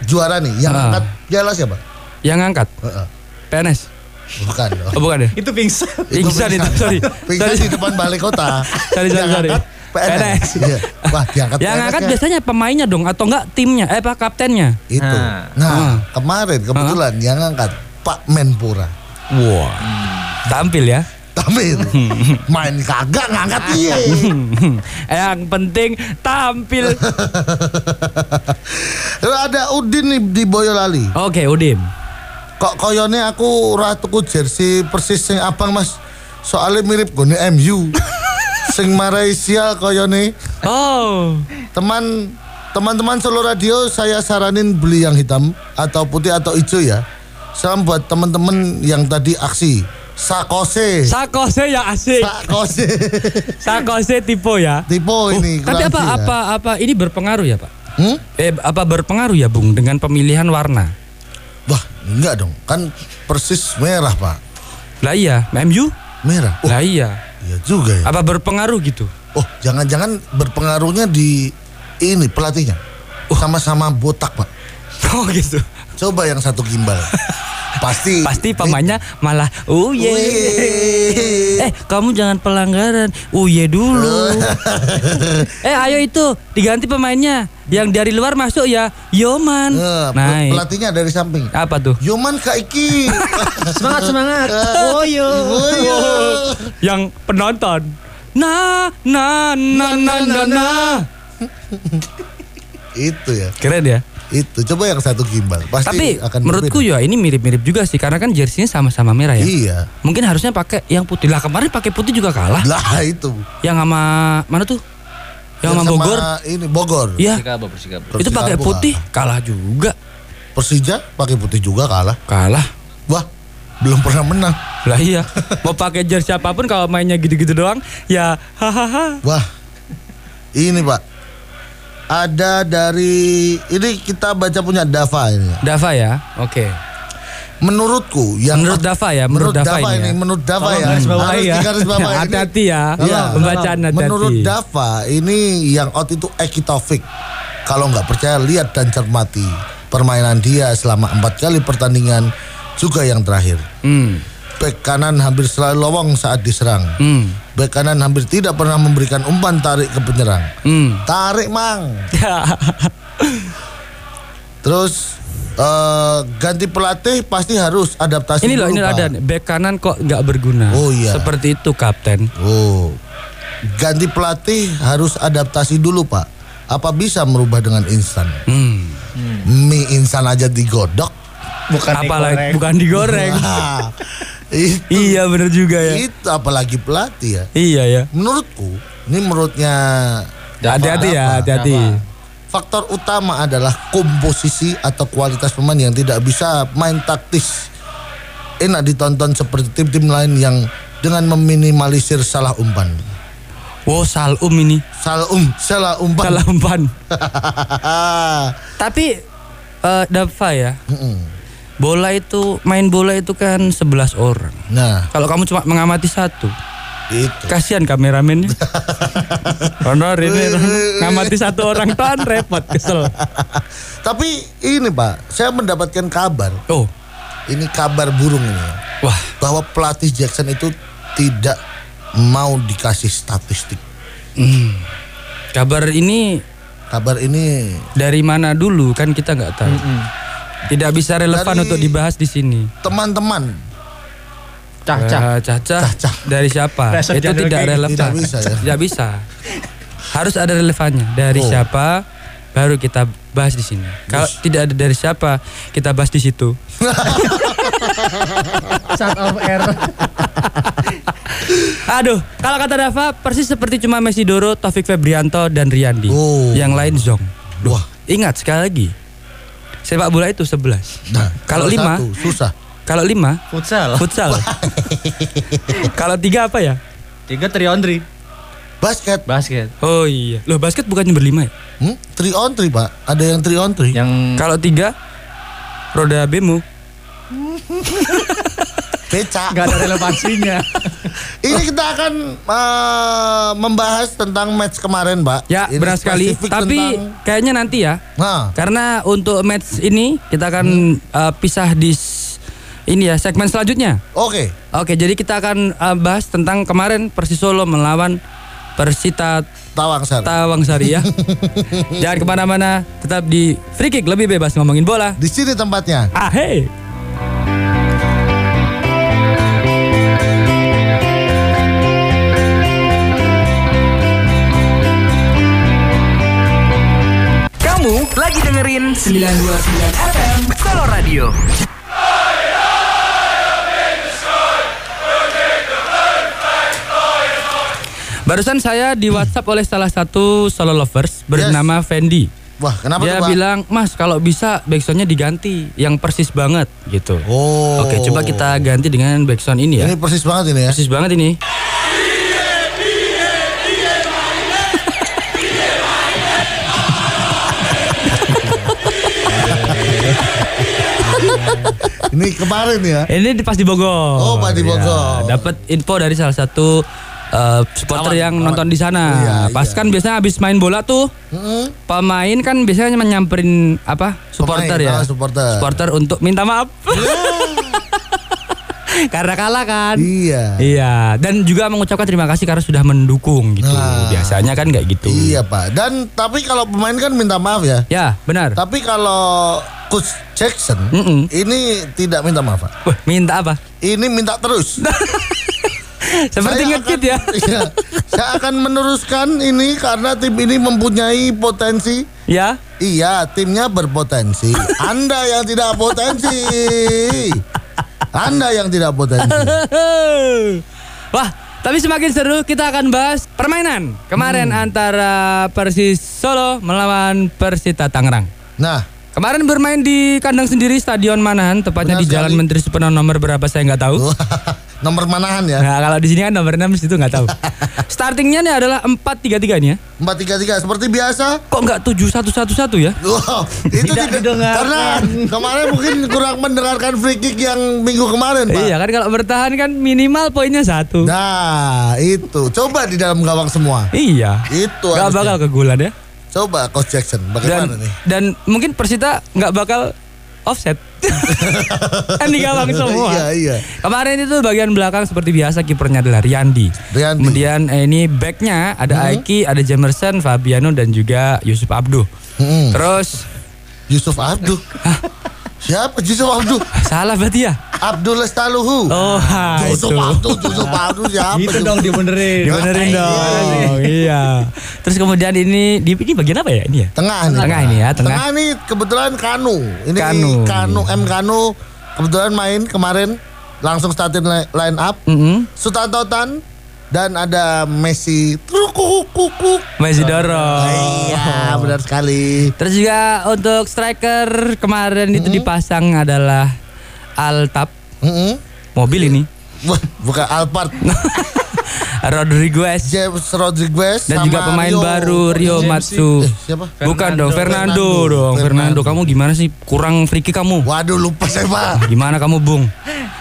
S3: juara nih, yang
S2: Ah.
S3: angkat piala siapa?
S2: Yang ngangkat
S3: Heeh.
S2: PNS.
S3: Bukan.
S2: Oh, bukan deh.
S4: Itu pingsan.
S2: Pingsan itu, sorry.
S3: Pingsan
S2: Sorry.
S3: di depan balai kota.
S2: Sorry,
S3: Yang
S2: sorry, sorry.
S3: angkat PNS.
S2: PNS.
S3: Iya. Wah, diangkat
S2: Yang
S3: PNS
S2: ngangkat
S3: -nya
S2: biasanya pemainnya dong atau enggak timnya eh Pak kaptennya.
S3: itu.
S4: Ah.
S3: Nah,
S2: Ah.
S3: kemarin kebetulan yang angkat Pak Menpora.
S2: Wah. Tampil ya.
S3: Tampil. Main kagak ngangkat iya.
S2: Yang penting tampil.
S3: Ada Udin nih di Boyolali.
S2: Oke, Udin.
S3: Kok koyone aku ora tuku jersey persis sing abang Mas. Soalnya mirip gone MU. sing Malaysia koyone
S2: Oh.
S3: teman teman-teman seluruh radio saya saranin beli yang hitam atau putih atau hijau ya. Salam buat teman-teman yang tadi aksi sakose.
S2: Sakose ya asik.
S3: sakose.
S2: Sakose tipe ya.
S3: Tipe ini.
S2: Tapi
S3: kurang
S2: apa
S3: sih ya.
S2: apa apa ini berpengaruh ya, Pak?
S3: Hmm?
S2: Eh apa berpengaruh ya, Bung, dengan pemilihan warna?
S3: Wah, enggak dong. Kan persis merah, Pak.
S2: Lah iya, MU?
S3: Merah. Oh,
S2: Lah iya.
S3: iya juga ya.
S2: Apa berpengaruh gitu?
S3: Oh, jangan-jangan berpengaruhnya di ini pelatihnya. Sama-sama botak, Pak.
S2: Oh gitu.
S3: Coba yang satu gimbal. Pasti
S2: Pasti pamannya malah oh ye.
S3: Wih.
S2: Eh, kamu jangan pelanggaran. Oh ye dulu. eh, ayo itu diganti pemainnya. Yang dari luar masuk ya, Yoman.
S3: Eh, pel-
S2: Naik.
S3: pelatihnya dari samping.
S2: Apa tuh?
S3: Yoman Kaiki.
S4: Semangat semangat. Oh yo.
S3: iya.
S2: Yang penonton. Na na na na na. na.
S3: itu ya.
S2: Keren ya.
S3: Itu. Coba yang satu gimbal. Pasti
S2: Tapi
S3: akan
S2: menurutku
S3: berbeda.
S2: ya ini mirip-mirip juga sih karena kan jersinya sama-sama merah ya.
S3: Iya.
S2: Mungkin harusnya pakai yang putih. Lah kemarin pakai putih juga kalah.
S3: Lah itu.
S2: Yang sama mana tuh? Yang sama Bogor.
S3: Ini Bogor.
S2: Iya.
S4: Bersikap bersikap.
S2: Itu pakai
S3: Persikabo
S2: putih kalah juga.
S3: Persija pakai putih juga kalah.
S2: Kalah.
S3: Wah, belum pernah menang.
S2: Lah iya, mau pakai jersey apapun kalau mainnya gitu-gitu doang ya hahaha.
S3: Wah, ini Pak. Ada dari ini kita baca punya Dava ini.
S2: Dava ya. Oke.
S3: Menurutku yang
S2: Menurut Dava ya,
S3: menurut
S2: menurut
S3: Dava,
S2: Dava ini
S3: ini,
S2: ya.
S3: menurut Dava
S4: Tolong
S3: ya.
S4: garis bawahi
S3: Harus
S4: ya.
S3: digaris bawahi ini.
S2: Hati-hati ya.
S3: Iya.
S2: Pembacaan hati-hati.
S3: Menurut Dava ini yang out itu Eki Taufik. Kalau nggak percaya lihat dan cermati permainan dia selama empat kali pertandingan juga yang terakhir.
S2: Hmm.
S3: Bek kanan hampir selalu lowong saat diserang.
S2: Hmm.
S3: Bek kanan hampir tidak pernah memberikan umpan tarik ke penyerang.
S2: Hmm.
S3: Tarik mang. Terus eh, ganti pelatih pasti harus adaptasi.
S2: ini loh,
S3: dulu,
S2: ini
S3: Pak.
S2: ada nih, back kanan kok nggak berguna.
S3: Oh iya.
S2: Seperti itu kapten.
S3: Oh. ganti pelatih harus adaptasi dulu pak. Apa bisa merubah dengan instan?
S2: Hmm.
S3: Mie instan aja digodok.
S7: Bukan
S2: Apalagi
S7: digoreng.
S2: bukan digoreng.
S3: Nah, itu,
S2: iya bener juga ya.
S3: itu apalagi pelatih ya.
S2: Iya ya.
S3: Menurutku, ini menurutnya
S2: Hati-hati ya,
S3: Apa?
S2: hati-hati.
S3: faktor utama adalah komposisi atau kualitas pemain yang tidak bisa main taktis. Enak ditonton seperti tim-tim lain yang dengan meminimalisir salah umpan.
S2: Wow salum ini,
S3: Salah um, salah umpan.
S2: salah umpan.
S3: Hahaha.
S2: Tapi eh Dava ya,
S3: Mm-mm.
S2: bola itu main bola itu kan 11 orang.
S3: nah,
S2: Kalau kamu cuma mengamati satu,
S3: itu.
S2: kasihan kameramennya. Honor ini ngamati satu orang tuan repot kesel.
S3: Tapi ini Pak, saya mendapatkan kabar.
S2: Oh,
S3: Ini kabar burung ini.
S2: wah
S3: Bahwa pelatih Jackson itu tidak mau dikasih statistik.
S2: kabar ini
S3: Kabar ini
S2: dari mana dulu kan kita nggak tahu. Tidak bisa relevan
S3: Dari-
S2: untuk dibahas di sini.
S3: teman-teman Ah,
S4: Cah-cah.
S2: Eh, Caca. Dari siapa?
S7: Presiden
S2: itu
S7: Jokowi.
S2: tidak relevan.
S3: Tidak bisa ya.
S2: Tidak bisa. Harus ada relevannya. Dari
S3: Oh.
S2: siapa? Baru kita bahas di sini. Kalau tidak ada dari siapa, kita bahas di situ.
S7: Shut off air.
S2: Aduh, kalau kata Dava, persis seperti cuma Messi Doro, Taufik Febrianto, dan Riyandi.
S3: Oh.
S2: Yang lain Zong.
S3: Wah.
S2: Ingat sekali lagi, sepak bola itu 11.
S3: Nah,
S2: Kalau lima?
S3: satu, susah.
S2: Kalau 5,
S4: Futsal.
S2: futsal. kalau 3 apa ya?
S4: Tiga tri on three.
S3: Basket.
S4: Basket.
S2: Oh iya. Loh, basket bukannya berlima ya?
S3: Hmm? Three on three, Pak. Ada yang three on three.
S4: Yang
S2: Kalau tiga roda bemu.
S3: Becak.
S7: Gak ada relevansinya.
S3: Ini kita akan eh, membahas tentang match kemarin, Pak.
S2: Ya
S3: Ini
S2: benar sekali.
S3: spesifik
S2: Tapi
S3: tentang-
S2: kayaknya nanti ya.
S3: Nah,
S2: Karena untuk match ini
S3: Hmm.
S2: kita akan uh, pisah di s- ini ya segmen selanjutnya.
S3: oke.
S2: Oke, jadi kita akan uh, bahas tentang kemarin Persis Solo melawan Persita
S3: Tawang Sar.
S2: Tawangsari ya. Jangan kemana-mana, tetap di Free Kick lebih bebas ngomongin bola.
S3: Di sini tempatnya.
S2: Ah hey.
S5: Kamu lagi dengerin 929 FM Solo Radio.
S2: Barusan saya di WhatsApp oleh salah satu solo lovers bernama Fendi.
S3: Wah, kenapa
S2: Dia
S3: tuh, Pak?
S2: bilang, "Mas, kalau bisa backsoundnya diganti yang persis banget." gitu.
S3: Oh.
S2: Oke, coba kita ganti dengan backsound ini ya.
S3: Ini persis banget ini ya.
S2: Persis banget ini.
S3: Ini kemarin ya.
S2: Ini di- pas di Bogor.
S3: Oh, pas di Bogor.
S2: Iya, Dapat info dari salah satu uh, supporter yang nonton di sana.
S3: Iya,
S2: pas
S3: iya.
S2: kan biasanya habis main bola tuh
S3: Mm-mm.
S2: pemain kan biasanya menyamperin apa? supporter
S3: Pemain,
S2: ya.
S3: ah, supporter.
S2: Supporter untuk minta maaf. Karena kalah kan.
S3: Iya.
S2: Iya, dan juga mengucapkan terima kasih karena sudah mendukung gitu.
S3: Nah.
S2: Biasanya kan nggak gitu.
S3: Iya, Pak. Dan tapi kalau pemain kan minta maaf ya.
S2: Ya, benar.
S3: Tapi kalau Coach Jackson
S2: Mm-mm.
S3: ini tidak minta maaf, Pak.
S2: Wah, minta apa?
S3: Ini minta terus.
S2: Nah, Seperti
S3: Saya
S2: ngekit
S3: akan-
S2: ya.
S3: Iya. saya akan meneruskan ini karena tim ini mempunyai potensi.
S2: ya.
S3: Iya, timnya berpotensi. Anda yang tidak potensi. Anda yang tidak potensi.
S2: Wah, tapi semakin seru kita akan bahas permainan kemarin
S3: Hmm.
S2: antara Persis Solo melawan Persita Tangerang.
S3: Nah,
S2: Kemarin bermain di kandang sendiri Stadion Manahan,
S3: Benar
S2: tepatnya di Jalan
S3: sekali.
S2: Menteri Supeno nomor berapa saya nggak tahu.
S3: nomor manahan ya.
S2: Nah, kalau di sini kan nomor 6 itu nggak tahu. Startingnya nih adalah 4-3-3 nih ya.
S3: 433 seperti biasa.
S2: Kok nggak 7-1-1-1 ya?
S3: Wow, itu tidak, karena kemarin mungkin kurang mendengarkan free kick yang minggu kemarin, Pak.
S2: Iya kan kalau bertahan kan minimal poinnya satu.
S3: Nah, itu. Coba di dalam gawang semua.
S2: Iya.
S3: Itu
S2: Gak
S3: harusnya.
S2: bakal kegulan ya.
S3: Coba Coach Jackson,
S2: Dan
S3: bagaimana nih?
S2: dan mungkin Persita nggak bakal offset. kan di gawang semua.
S3: Iya, iya.
S2: Kemarin itu bagian belakang seperti biasa kipernya adalah Riyandi.
S3: Riyandi. Hmm.
S2: Kemudian eh, ini backnya ada Aiki, ada Jamerson,
S3: Hmm.
S2: Fabiano dan juga Yusuf Abduh.
S3: Mm-mm.
S2: Terus
S3: Yusuf Abdul. Siapa Yusuf Abdul?
S2: Salah berarti ya?
S3: Abdul Lestaluhu.
S2: Oh, ha,
S3: Nah, Yusuf
S2: itu.
S3: Abdul, Nah, Yusuf Abdul siapa?
S7: Gitu
S3: Yusuf?
S7: dong dibenerin.
S2: Dibenerin dong. Iya. Terus kemudian ini di ini bagian apa ya ini ya?
S3: Tengah nih.
S2: Tengah ini ya, tengah.
S3: Tengah nih kebetulan Kanu. Ini
S2: Kanu.
S3: Kanu, M Kanu kebetulan main kemarin langsung starting li- line up.
S2: Mm-mm.
S3: Sutanto Tan dan ada Messi. Trukukukuk.
S2: Messi dorong.
S3: Iya, benar sekali.
S2: Terus juga untuk striker kemarin itu
S3: Hmm.
S2: dipasang adalah Altap
S3: Mm-mm.
S2: mobil ini.
S3: Wah, Bukan Alphard,
S2: Rodriguez
S3: James Rodriguez sama
S2: dan juga pemain
S3: Rio.
S2: baru Rio
S4: James
S2: Matsu.
S3: Eh, siapa?
S2: Bukan dong,
S3: Fernando.
S2: Fernando, dong. Fernando.
S3: Fernando.
S2: kamu gimana sih? Kurang free kick kamu.
S3: Waduh lupa saya pak.
S2: Gimana kamu, Bung?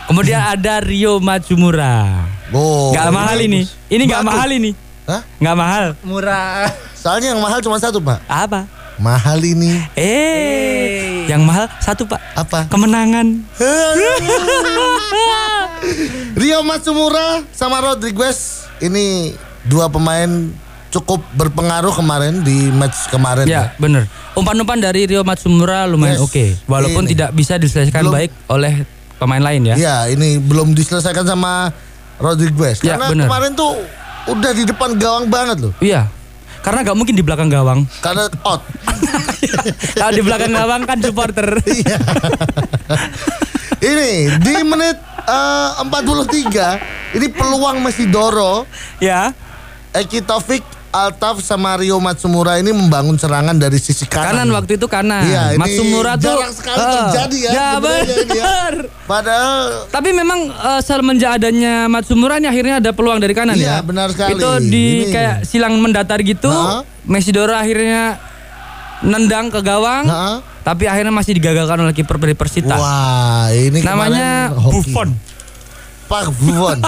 S2: Kemudian ada Rio Matsumura.
S3: Hmm. Oh,
S2: Gak mahal ini. Ini
S3: Bagus.
S2: gak mahal ini.
S3: Hah?
S2: Gak mahal.
S4: Murah.
S3: Soalnya yang mahal cuma satu pak.
S2: Apa?
S3: Mahal ini
S2: Eh, yang mahal satu pak.
S3: apa?
S2: Kemenangan.
S3: Rio Matsumura sama Rodriguez ini dua pemain cukup berpengaruh kemarin di match kemarin.
S2: Ya, bener. Umpan-umpan dari Rio Matsumura lumayan
S3: Yes,
S2: oke. Walaupun
S3: ini.
S2: tidak bisa diselesaikan
S3: Belum.
S2: baik oleh pemain lain ya.
S3: Ya, ini belum diselesaikan sama Rodriguez
S2: Ya,
S3: karena
S2: bener.
S3: kemarin tuh udah di depan gawang banget loh.
S2: Iya. Karena nggak mungkin di belakang gawang.
S3: Karena out.
S2: Kalau di belakang gawang kan supporter.
S3: Iya. ini di menit eh, 43 ini peluang masih Doro
S2: ya.
S3: Eki Taufik, Altaf sama Rio Matsumura ini membangun serangan dari sisi kanan.
S2: Kanan waktu itu kanan.
S3: Iya, ini
S2: Matsumura tuh
S3: jarang sekali
S2: eh,
S3: terjadi ya,
S2: Ya
S3: sebenarnya ini ya.
S2: bener.
S3: Padahal
S2: Tapi memang eh, semenjak adanya Matsumura ini akhirnya ada peluang dari kanan ya.
S3: Iya, benar sekali.
S2: Itu di
S3: Ini.
S2: kayak silang mendatar gitu.
S3: Ha?
S2: Messi Dora akhirnya nendang ke gawang.
S3: Ha?
S2: Tapi akhirnya masih digagalkan oleh kiper dari Persita.
S3: wah ini kemarin
S2: Namanya
S3: hoki.
S2: Buffon.
S3: Pak Buffon.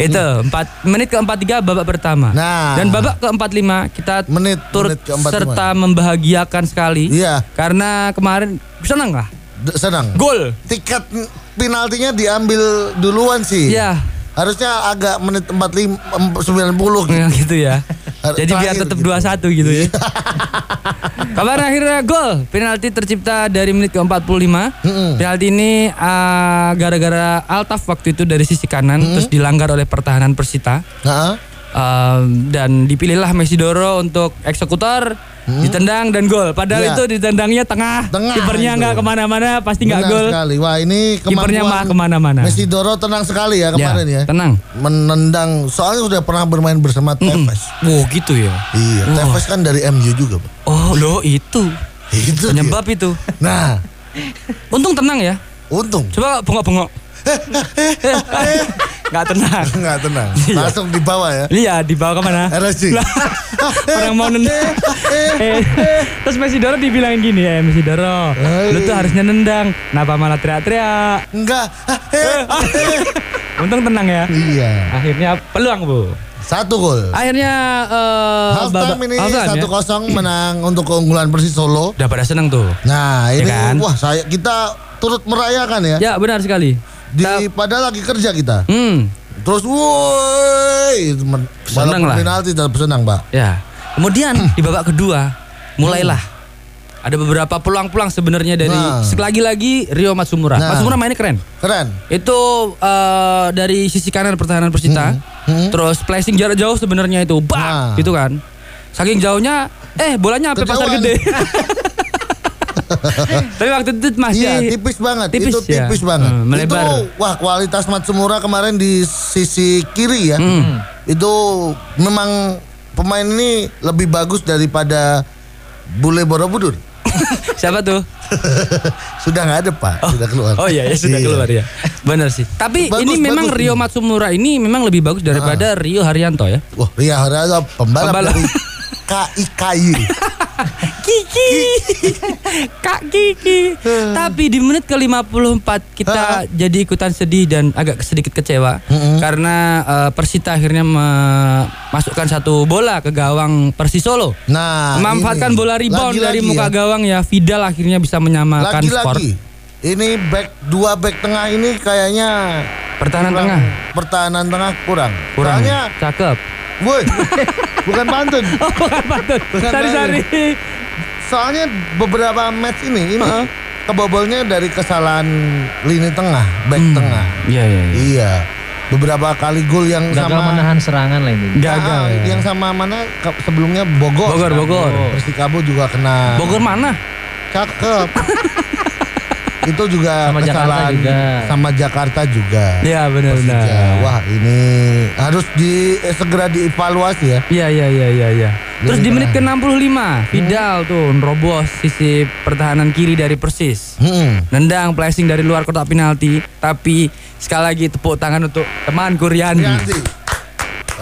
S2: itu empat menit ke 43 babak pertama.
S3: Nah.
S2: Dan babak ke 45 kita
S3: Menit-
S2: turut
S3: menit ke-45.
S2: serta membahagiakan sekali.
S3: Iya.
S2: Karena kemarin senang lah.
S3: D- Senang.
S2: Gol.
S3: Tiket penaltinya diambil duluan sih.
S2: Iya.
S3: Harusnya agak menit 45 em- 90 gitu.
S2: Ya, gitu ya. Jadi biar
S3: Terakhir
S2: tetap
S3: gitu.
S2: 2-1 gitu ya. Kabar akhirnya gol penalti tercipta dari menit ke-45. Penalti ini ah, gara-gara Altaf waktu itu dari sisi kanan terus dilanggar oleh pertahanan Persita.
S3: Nah,
S2: Um, dan dipilihlah Messi Doro untuk eksekutor ditendang dan gol. Padahal
S3: Hmm? Iya.
S2: itu ditendangnya tengah,
S3: Tengah
S2: kipernya
S3: itu.
S2: nggak kemana-mana, pasti nggak
S3: benar
S2: gol.
S3: sekali. Wah, ini
S2: Kipernya mah
S3: kemampuan
S2: kemana-mana.
S3: Messi Doro tenang sekali ya kemarin ya.
S2: Tenang.
S3: Menendang soalnya sudah pernah bermain bersama Tevez.
S2: Wow gitu ya.
S3: Iya, Tevez kan dari MU juga, Pak.
S2: Oh lo itu
S3: Itu dia.
S2: penyebab itu.
S3: Nah,
S2: Untung tenang ya.
S3: untung
S2: Coba bengok-bengok. Nggak tenang.
S3: nggak tenang. Langsung di bawah ya.
S2: Iya dibawa kemana?
S3: RSC.
S2: Lah, Orang mau nendang. Eh, Terus Messi Doro dibilangin gini, eh Messi Doro, lu tuh harusnya nendang. Kenapa malah teriak-teriak?
S3: Enggak.
S2: Eh, ah. Untung tenang ya.
S3: Eh, Iya.
S2: Akhirnya peluang bu.
S3: Satu gol.
S2: Akhirnya Ah, eh
S3: Half
S2: babak-
S3: time ini
S2: half time,
S3: satu
S2: ya?
S3: kosong menang untuk keunggulan Persis Solo.
S2: Udah pada seneng tuh.
S3: Nah,
S2: Ya
S3: ini
S2: kan?
S3: wah saya kita turut merayakan ya.
S2: Ya benar sekali.
S3: Di padahal lagi kerja kita.
S2: Hmm,
S3: Terus woi itu men-
S2: Senang
S3: walaupun
S2: lah.
S3: penalti tetap senang, Pak.
S2: ya. Kemudian
S3: Hmm.
S2: di babak kedua mulailah ada beberapa peluang-peluang sebenarnya dari
S3: Nah.
S2: sekali lagi Rio Matsumura.
S3: Nah.
S2: Matsumura mainnya keren.
S3: Keren.
S2: Itu eh, dari sisi kanan pertahanan Persita.
S3: Hmm.
S2: Terus placing jarak jauh sebenarnya itu.
S3: Nah.
S2: Bang, gitu kan. Saking jauhnya eh bolanya sampai pasar
S3: Kejauhan.
S2: gede. Tapi waktu itu masih
S3: Iya, tipis banget.
S2: Ah, tipis
S3: itu
S2: ya.
S3: tipis banget.
S2: Hmm, melebar.
S3: Itu wah kualitas Matsumura kemarin di sisi kiri ya.
S2: Hmm.
S3: Itu memang pemain ini lebih bagus daripada Bule Borobudur.
S2: Siapa tuh?
S3: sudah nggak ada Pak, sudah keluar.
S2: Oh iya, ya sudah
S3: Iya.
S2: keluar ya. Benar sih. Tapi
S3: Bagus,
S2: ini memang
S3: bagus. Ah.
S2: Rio Matsumura ini memang lebih bagus daripada Rio Haryanto ya.
S3: Wah, Ria Haryanto pembalap,
S2: Pembalap.
S3: dari KIKY.
S2: Kiki. Kak Kiki. Tapi di menit ke-54 kita
S3: Ah.
S2: jadi ikutan sedih dan agak sedikit kecewa karena eh, Persita akhirnya memasukkan satu bola ke gawang Persis Solo.
S3: Nah,
S2: Memanfaatkan
S3: ini.
S2: bola rebound
S3: Lagi-lagi
S2: dari muka
S3: ya.
S2: gawang ya Vidal akhirnya bisa menyamakan skor.
S3: Lagi-lagi. Ini back dua back tengah ini kayaknya
S2: Pertahanan
S3: kurang-
S2: tengah.
S3: Pertahanan tengah kurang.
S2: Kurang. ya?
S3: Soalnya,
S2: Cakep.
S3: woi, bukan pantun.
S2: Oh, bukan patut.
S3: Bukan
S2: Sari-sari.
S3: Soalnya beberapa match ini ini kebobolnya dari kesalahan lini tengah, back tengah.
S2: Iya iya. iya.
S3: Iya. Beberapa kali gol yang
S4: Gagal
S3: sama
S4: menahan serangan lah ini.
S2: Gagal.
S3: Ah,
S2: ya.
S3: Yang sama mana ke- sebelumnya Bogor.
S2: Bogor, Bogor.
S3: Persikabo juga kena.
S2: Bogor mana?
S3: Cakep. Itu juga
S4: Sama Jakarta
S3: kesalahan
S4: juga.
S3: sama Jakarta juga.
S2: Iya benar-benar.
S3: Persija. Wah ini harus di eh, segera dievaluasi ya.
S2: Iya iya iya iya iya. Terus di
S3: Lebih
S2: menit ke-65 Vidal tuh nerobos sisi pertahanan kiri dari Persis.
S3: Hmm.
S2: Nendang flashing dari luar kotak penalti, tapi sekali lagi tepuk tangan untuk teman Kuriandi.
S3: Rianti.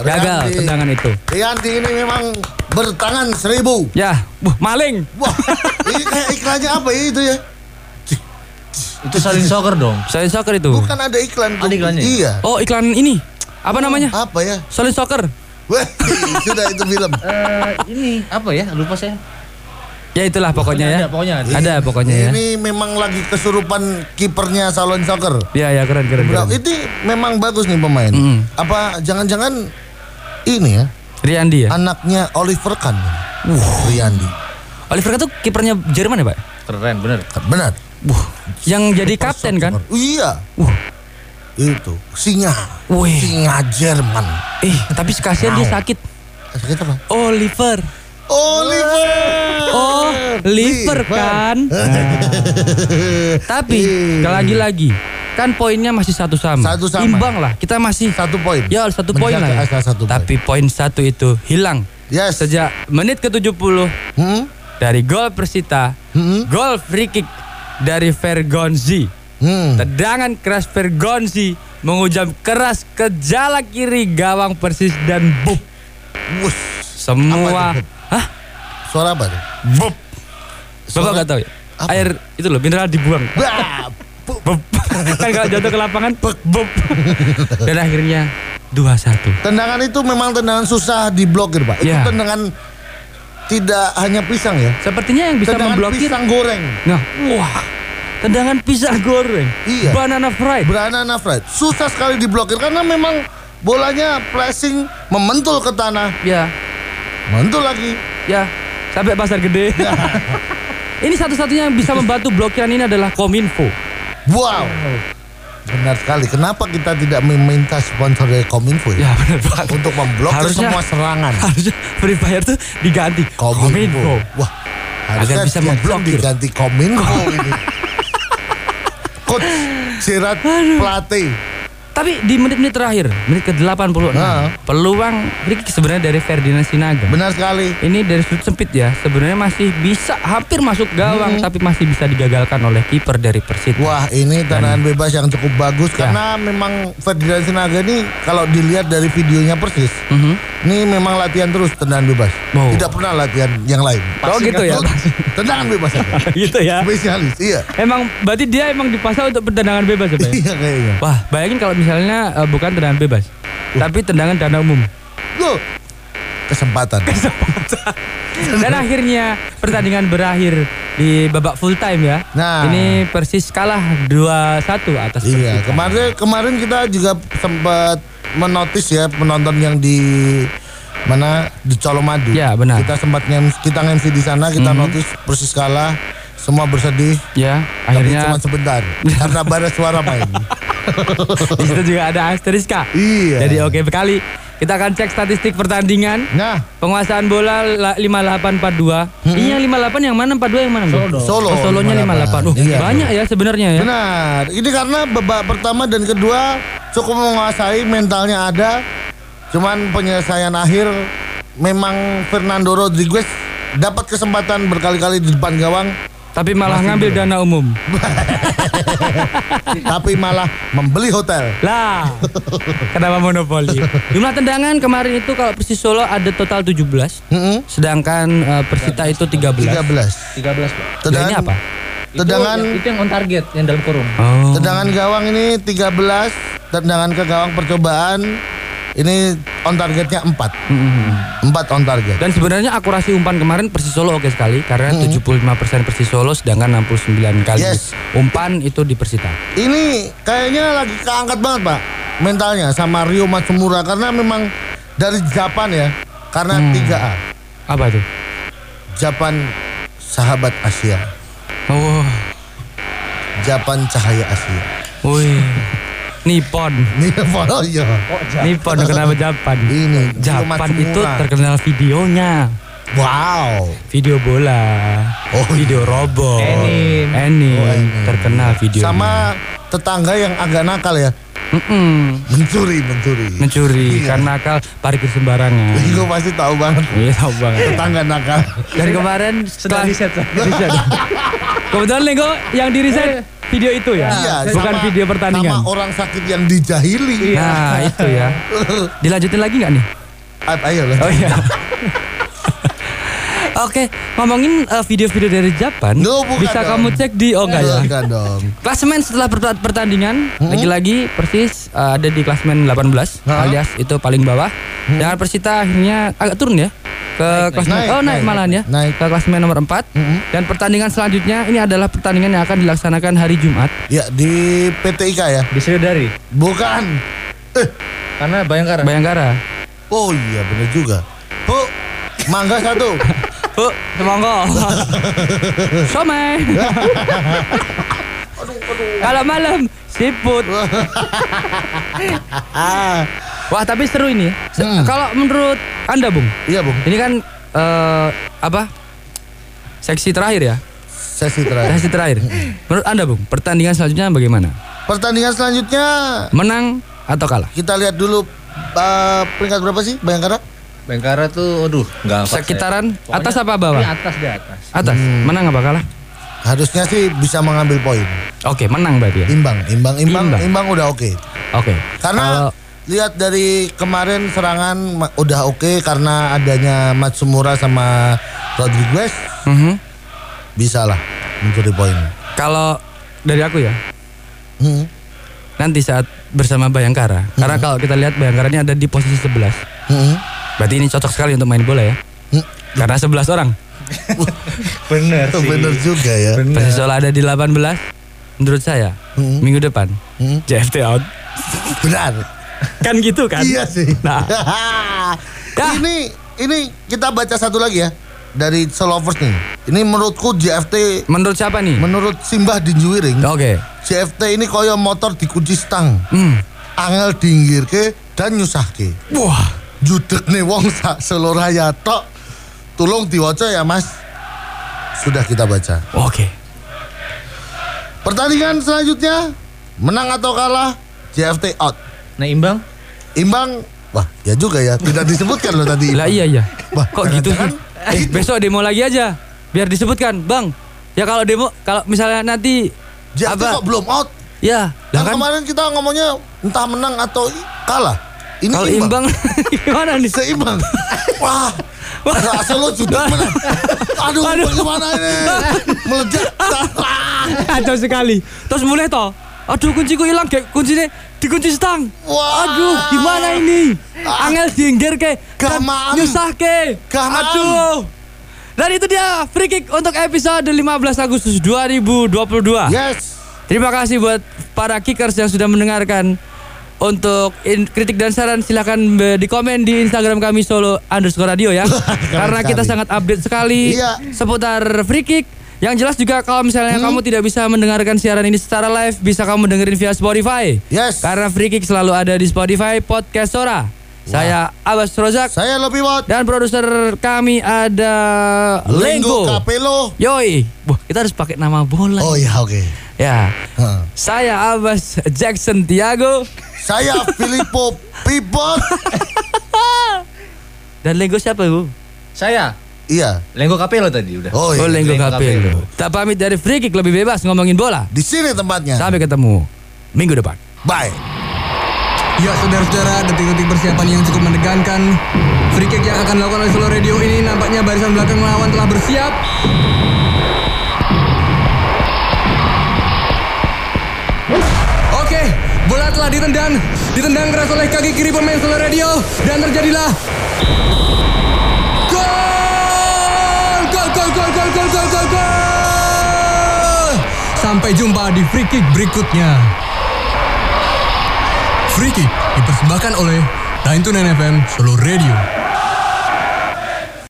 S2: Gagal
S3: Rianti.
S2: tendangan itu.
S3: Rianti ini memang bertangan seribu.
S2: Ya, wah maling.
S3: Wah, ini kayak iklannya apa ya itu ya?
S4: Itu saling soccer dong.
S2: Saya soccer itu.
S3: Bukan ada iklan. tuh.
S4: Ada iklannya ya?
S3: Iya.
S2: Oh, iklan ini. Apa namanya?
S3: Apa ya?
S2: Solid Soccer.
S3: Wah, sudah itu film.
S4: Eh, ini apa ya? Lupa saya.
S2: Ya itulah pokoknya ya.
S4: Ada, pokoknya ada.
S2: Ada pokoknya ya.
S3: Ini memang lagi kesurupan kipernya Salon Soccer.
S2: Ya ya keren keren.
S3: Bro,
S2: keren.
S3: itu memang bagus nih pemain.
S2: Mm.
S3: Apa jangan-jangan ini ya,
S2: Riyandi ya.
S3: anaknya Oliver Kahn. Wah, Riyandi.
S2: Oliver Kahn tuh kipernya Jerman ya, Pak?
S4: Keren bener.
S3: Benar.
S2: Wah, yang jadi kapten kan?
S3: Iya.
S2: Wah.
S3: Itu singa.
S2: Wih.
S3: Singa Jerman.
S2: Eh, tapi kasihan dia sakit.
S3: Sakit apa?
S2: Oliver.
S3: Oliver.
S2: Oh, liver kan. Tapi lagi-lagi kan poinnya masih satu sama.
S3: Iya. Satu sama.
S2: Imbang lah. Kita masih
S3: Satu poin.
S2: ya satu poin lah.
S3: Menjaga
S2: ya.
S3: asal satu poin.
S2: Tapi poin satu itu hilang
S3: Yes.
S2: sejak menit ke-70
S3: Hmm?
S2: dari gol Persita.
S3: Hmm.
S2: Gol free kick dari Vergonzi.
S3: Hmm.
S2: Tendangan keras Vergonzi mengujam keras ke jala kiri gawang Persis dan bub.
S3: Wush.
S2: Semua
S3: Apa itu,
S2: Hah?
S3: Suara apa tuh?
S2: Bub. Bapak
S3: Suara-
S2: nggak tahu ya?
S3: Apa?
S2: Air itu loh mineral dibuang.
S3: Bah. Bu-
S2: Bub. kan kalau jatuh ke lapangan bub. bub. Dan akhirnya 2-1.
S3: Tendangan itu memang tendangan susah diblokir, Pak.
S2: Ya.
S3: Itu tendangan tidak hanya pisang ya.
S2: Sepertinya yang bisa
S3: tendangan
S2: memblokir.
S3: pisang goreng.
S2: Nah, wah. Tendangan pisang goreng.
S3: Iya.
S2: Banana fried.
S3: Banana fried. Susah sekali diblokir karena memang bolanya flashing mementul ke tanah,
S2: ya,
S3: mentul lagi.
S2: ya. Sampai pasar gede. ini satu-satunya yang bisa membantu blokiran ini adalah Kominfo.
S3: Wow. Benar sekali. Kenapa kita tidak meminta sponsor dari Kominfo ya?
S2: Ya, benar banget.
S3: Untuk memblokir
S2: Harusnya-
S3: semua serangan.
S2: Harusnya Free Fire tuh diganti
S3: Kominfo. Wah, harusnya
S2: Agar bisa
S3: bisa
S2: memblokir.
S3: diganti Kominfo ini. Coach Sirat Plate.
S2: Tapi di menit-menit terakhir, menit ke-86,
S3: Nah.
S2: peluang free kick sebenarnya dari Ferdinand Sinaga.
S3: Benar sekali.
S2: Ini dari sudut sempit ya, sebenarnya masih bisa hampir masuk gawang tapi masih bisa digagalkan oleh kiper dari Persita.
S3: Hmm. Wah, ini tendangan bebas yang cukup bagus
S2: Ya.
S3: karena memang Ferdinand Sinaga ini kalau dilihat dari videonya persis,
S2: Mhm.
S3: ini memang latihan terus tendangan bebas.
S2: Wow.
S3: Tidak pernah latihan yang lain.
S2: Oh, gitu ya.
S3: Tendangan bebas aja.
S2: gitu ya.
S3: Spesialis, iya.
S2: Emang berarti dia emang dipasang untuk tendangan bebas ya, Pak? ya?
S3: Iya kayaknya.
S2: Wah, bayangin kalau misalnya eh, bukan tendangan bebas, tapi tendangan dana umum.
S3: Loh, kesempatan.
S2: Dan akhirnya pertandingan berakhir di babak full time ya.
S3: Nah.
S2: Ini Persis kalah 2-1 atas
S3: Iya,
S2: Persita.
S3: kemarin kemarin kita juga sempat menotis ya penonton yang di mana di Colomadu.
S2: Ya, benar. Mhm.
S3: Kita sempat ngem, kita MC di sana, kita notis persis kalah, semua bersedih.
S2: Ya,
S3: Tapi
S2: akhirnya
S3: cuma sebentar karena bara suara main.
S2: di situ juga ada asteriska.
S3: Iya.
S2: Jadi oke sekali. Kita akan cek statistik pertandingan.
S3: Nah,
S2: Penguasaan bola la- 5842. Ini yang 58 Iya, yang mana? 42 yang mana? Solo.
S3: Hmm. Solo,
S2: Oh, solonya
S3: 58.
S2: 58. Oh,
S3: Iya.
S2: banyak ya sebenarnya ya.
S3: benar. Ini karena babak pertama dan kedua cukup menguasai, mentalnya ada. Cuman penyelesaian akhir memang Fernando Rodriguez dapat kesempatan berkali-kali di depan gawang
S2: Tapi malah ngambil dana umum.
S3: tapi malah membeli hotel.
S2: Lah, kenapa monopoli? Jumlah tendangan kemarin itu kalau Persis Solo ada total 17,
S3: Mm-mm.
S2: sedangkan eh, Persita itu 13.
S3: 13.
S2: Nah,
S4: 13, Pak.
S2: ini
S3: Tendangan
S2: apa?
S3: Tendangan
S4: itu, yang, itu yang on target yang dalam kurung.
S2: Oh.
S3: tendangan gawang ini 13, tendangan ke gawang percobaan ini on targetnya 4.
S2: Hmm.
S3: 4 on target.
S2: Dan sebenarnya akurasi umpan kemarin Persis Solo oke sekali karena 75% Persis Solo sedangkan 69
S3: Mm-hmm.
S2: kali
S3: Yes.
S2: umpan itu di Persita.
S3: Ini kayaknya lagi keangkat banget, Pak. Mentalnya sama Rio Matsumura karena memang
S2: Hmm.
S3: dari Japan ya. Karena 3A.
S2: Apa tuh?
S3: Japan sahabat Asia,
S2: Wah.
S3: Japan Cahaya Asia.
S2: Wih. Nippon.
S3: Nih, oh iya.
S2: Nippon kenapa Japan?
S3: Ini,
S2: Japan
S3: Yomatsumura.
S2: itu terkenal videonya.
S3: Wow.
S2: Video bola.
S3: Oh,
S2: video robot.
S4: Anime.
S2: Anime.
S3: Oh, anime.
S2: Terkenal video.
S3: Sama tetangga yang agak nakal ya, mencuri, mencuri.
S2: mencuri
S3: Iya.
S2: karena akal parkir sembarangan.
S3: Gue pasti tahu banget
S2: Iya tahu banget.
S3: tetangga nakal.
S2: Dan kemarin setelah
S4: Sudah riset.
S2: riset. Kebetulan Lego yang di riset video itu ya. Bukan
S3: Eh. Iya, sama-
S2: video pertandingan.
S3: Sama orang sakit yang dijahili.
S2: Nah, itu ya. Dilanjutin lagi nggak nih?
S3: A- Ayo lah.
S2: Oh iya. Oke, ngomongin eh, video-video dari Japan,
S3: No, bukan
S2: bisa
S3: dong.
S2: kamu cek di oh enggak ya.
S3: Enggak dong.
S2: Klasemen setelah per- pertandingan lagi-lagi persis eh, ada di klasemen 18
S3: Hmm? Ha? Hmm?
S2: alias itu paling bawah. Dengan Persita akhirnya agak turun ya ke klasemen
S3: naik,
S2: oh naik,
S3: naik,
S2: malahan ya
S3: naik. Hmm?
S2: ke klasemen nomor 4 dan pertandingan selanjutnya ini adalah pertandingan yang akan dilaksanakan hari Jumat.
S3: Ya di PTIK ya.
S4: Di Sriwedari.
S3: Bukan. Eh,
S4: Karena
S3: Nah.
S4: Bayangkara.
S2: Bayangkara.
S3: oh iya bener juga. Bu, mangga satu.
S2: Bu, semonggo. Somai. Kalau malam siput. Wah, tapi seru ini. Se-
S3: Hmm.
S2: Kalau menurut Anda, Bung,
S3: Iya bung.
S2: ini kan eh, apa? Seksi terakhir ya?
S3: Sesi terakhir.
S2: Seksi terakhir. Menurut Anda, Bung, pertandingan selanjutnya bagaimana?
S3: Pertandingan selanjutnya
S2: Menang atau kalah?
S3: kita lihat dulu eh, peringkat berapa sih Bayangkara?
S4: Bayangkara tuh aduh, enggak
S2: Sekitaran atas apa bawah?
S4: Di atas di atas.
S2: Atas. Menang apa kalah?
S3: Harusnya sih bisa mengambil poin.
S2: Oke, menang berarti ya.
S3: Imbang, imbang, imbang,
S2: Imbang.
S3: imbang, udah oke.
S2: Oke.
S3: Karena
S2: Kalau-
S3: lihat dari kemarin serangan ma- udah oke karena adanya Matsumura sama Rodriguez
S2: Mhm.
S3: bisa lah mencuri poin.
S2: Kalau dari aku ya,
S3: Hmm.
S2: nanti saat bersama Bayangkara. Karena kalau kita lihat Bayangkara ini ada di posisi 11.
S3: Hmm.
S2: Berarti ini cocok sekali untuk main bola ya.
S3: Hmm.
S2: Karena 11 orang.
S4: Bener
S3: Itu
S4: Iya sih.
S3: bener juga ya.
S4: Bener.
S2: Persisola ada di 18. Menurut saya
S3: Hmm.
S2: minggu depan
S3: Hmm.
S2: JFT out.
S3: Benar.
S2: Kan gitu kan?
S3: Iya sih.
S2: Nah, Dah.
S3: ini ini kita baca satu lagi ya dari Solovers nih. Ini menurutku JFT
S2: menurut siapa nih?
S3: menurut Simbah Dinjuwiring,
S2: Oke.
S3: JFT ini koyo motor dikunci stang.
S2: Hmm.
S3: Angel dinggirke dan nyusahke.
S2: Wah,
S3: judekne wong sak seloraya tok tulung diwaca ya mas sudah kita baca
S2: oke.
S3: pertandingan selanjutnya menang atau kalah JFT out
S4: Nah, imbang
S3: imbang wah ya juga ya tidak disebutkan loh tadi
S2: Lah iya ya.
S3: Wah,
S2: Kok gitu sih?
S3: jangan-jangan
S2: Eh,
S3: gitu.
S2: besok demo lagi aja. Biar disebutkan, Bang. Ya kalau demo kalau misalnya nanti
S3: JFT
S2: apa?
S3: kok belum out
S2: Ya, lah
S3: kan,
S2: kan
S3: kemarin kita ngomongnya entah menang atau i- kalah ini
S2: kalau imbang gimana nih?
S3: seimbang wah Rasa lo sudah menang Aduh,
S2: Aduh. Ah.
S3: bagaimana ini Meledak
S2: Kacau sekali. Terus mulai toh. Aduh kunciku hilang kayak kuncinya dikunci stang.
S3: Wah.
S2: Aduh gimana ini? Angel diinggir ke. Dan
S3: Gamaan.
S2: Nyusah ke.
S3: Gamaan.
S2: Aduh. Dan itu dia free kick untuk episode 15 Agustus 2022.
S3: Yes
S2: Terima kasih buat para kickers yang sudah mendengarkan. Untuk in- kritik dan saran silahkan be- di komen di Instagram kami Solo underscore radio ya. Karena kita
S3: sekali.
S2: sangat update sekali
S3: Iya. Hmm?
S2: seputar free kick. Yang jelas juga kalau misalnya kamu tidak bisa mendengarkan siaran ini secara live, bisa kamu dengerin via Spotify.
S3: Yes
S2: Karena free kick selalu ada di Spotify Podcast Sora. Saya Abbas Rozak
S3: Saya lebih Watt
S2: dan produser kami ada
S3: Lenggo
S2: Lenggo.
S3: Kapelo.
S2: Yoi, Wah, kita harus pakai nama bola.
S3: Oh iya oke.
S2: Ya.
S3: Heeh.
S2: Saya Abbas Jackson Tiago
S3: Saya Filippo Pibot.
S2: dan Lego siapa Bu?
S4: saya
S3: iya.
S4: Lenggo Kapelo tadi udah.
S3: Oh
S2: Oh
S3: iya.
S2: Lego
S4: Lenggo
S2: Kapil.
S4: Kapil.
S2: Kita pamit dari Free Kick lebih bebas ngomongin bola.
S3: Di sini tempatnya.
S2: Sampai ketemu minggu depan.
S3: Bye.
S1: Ya saudara-saudara, detik-detik persiapan yang cukup menegangkan. Free kick yang akan dilakukan oleh Solo Radio ini nampaknya barisan belakang lawan telah bersiap. Oke, bola telah ditendang. Ditendang keras oleh kaki kiri pemain Solo Radio dan terjadilah gol! Gol gol gol gol gol gol gol gol! Sampai jumpa di free kick berikutnya. Free Kick dipersembahkan oleh 929 FM Solo Radio.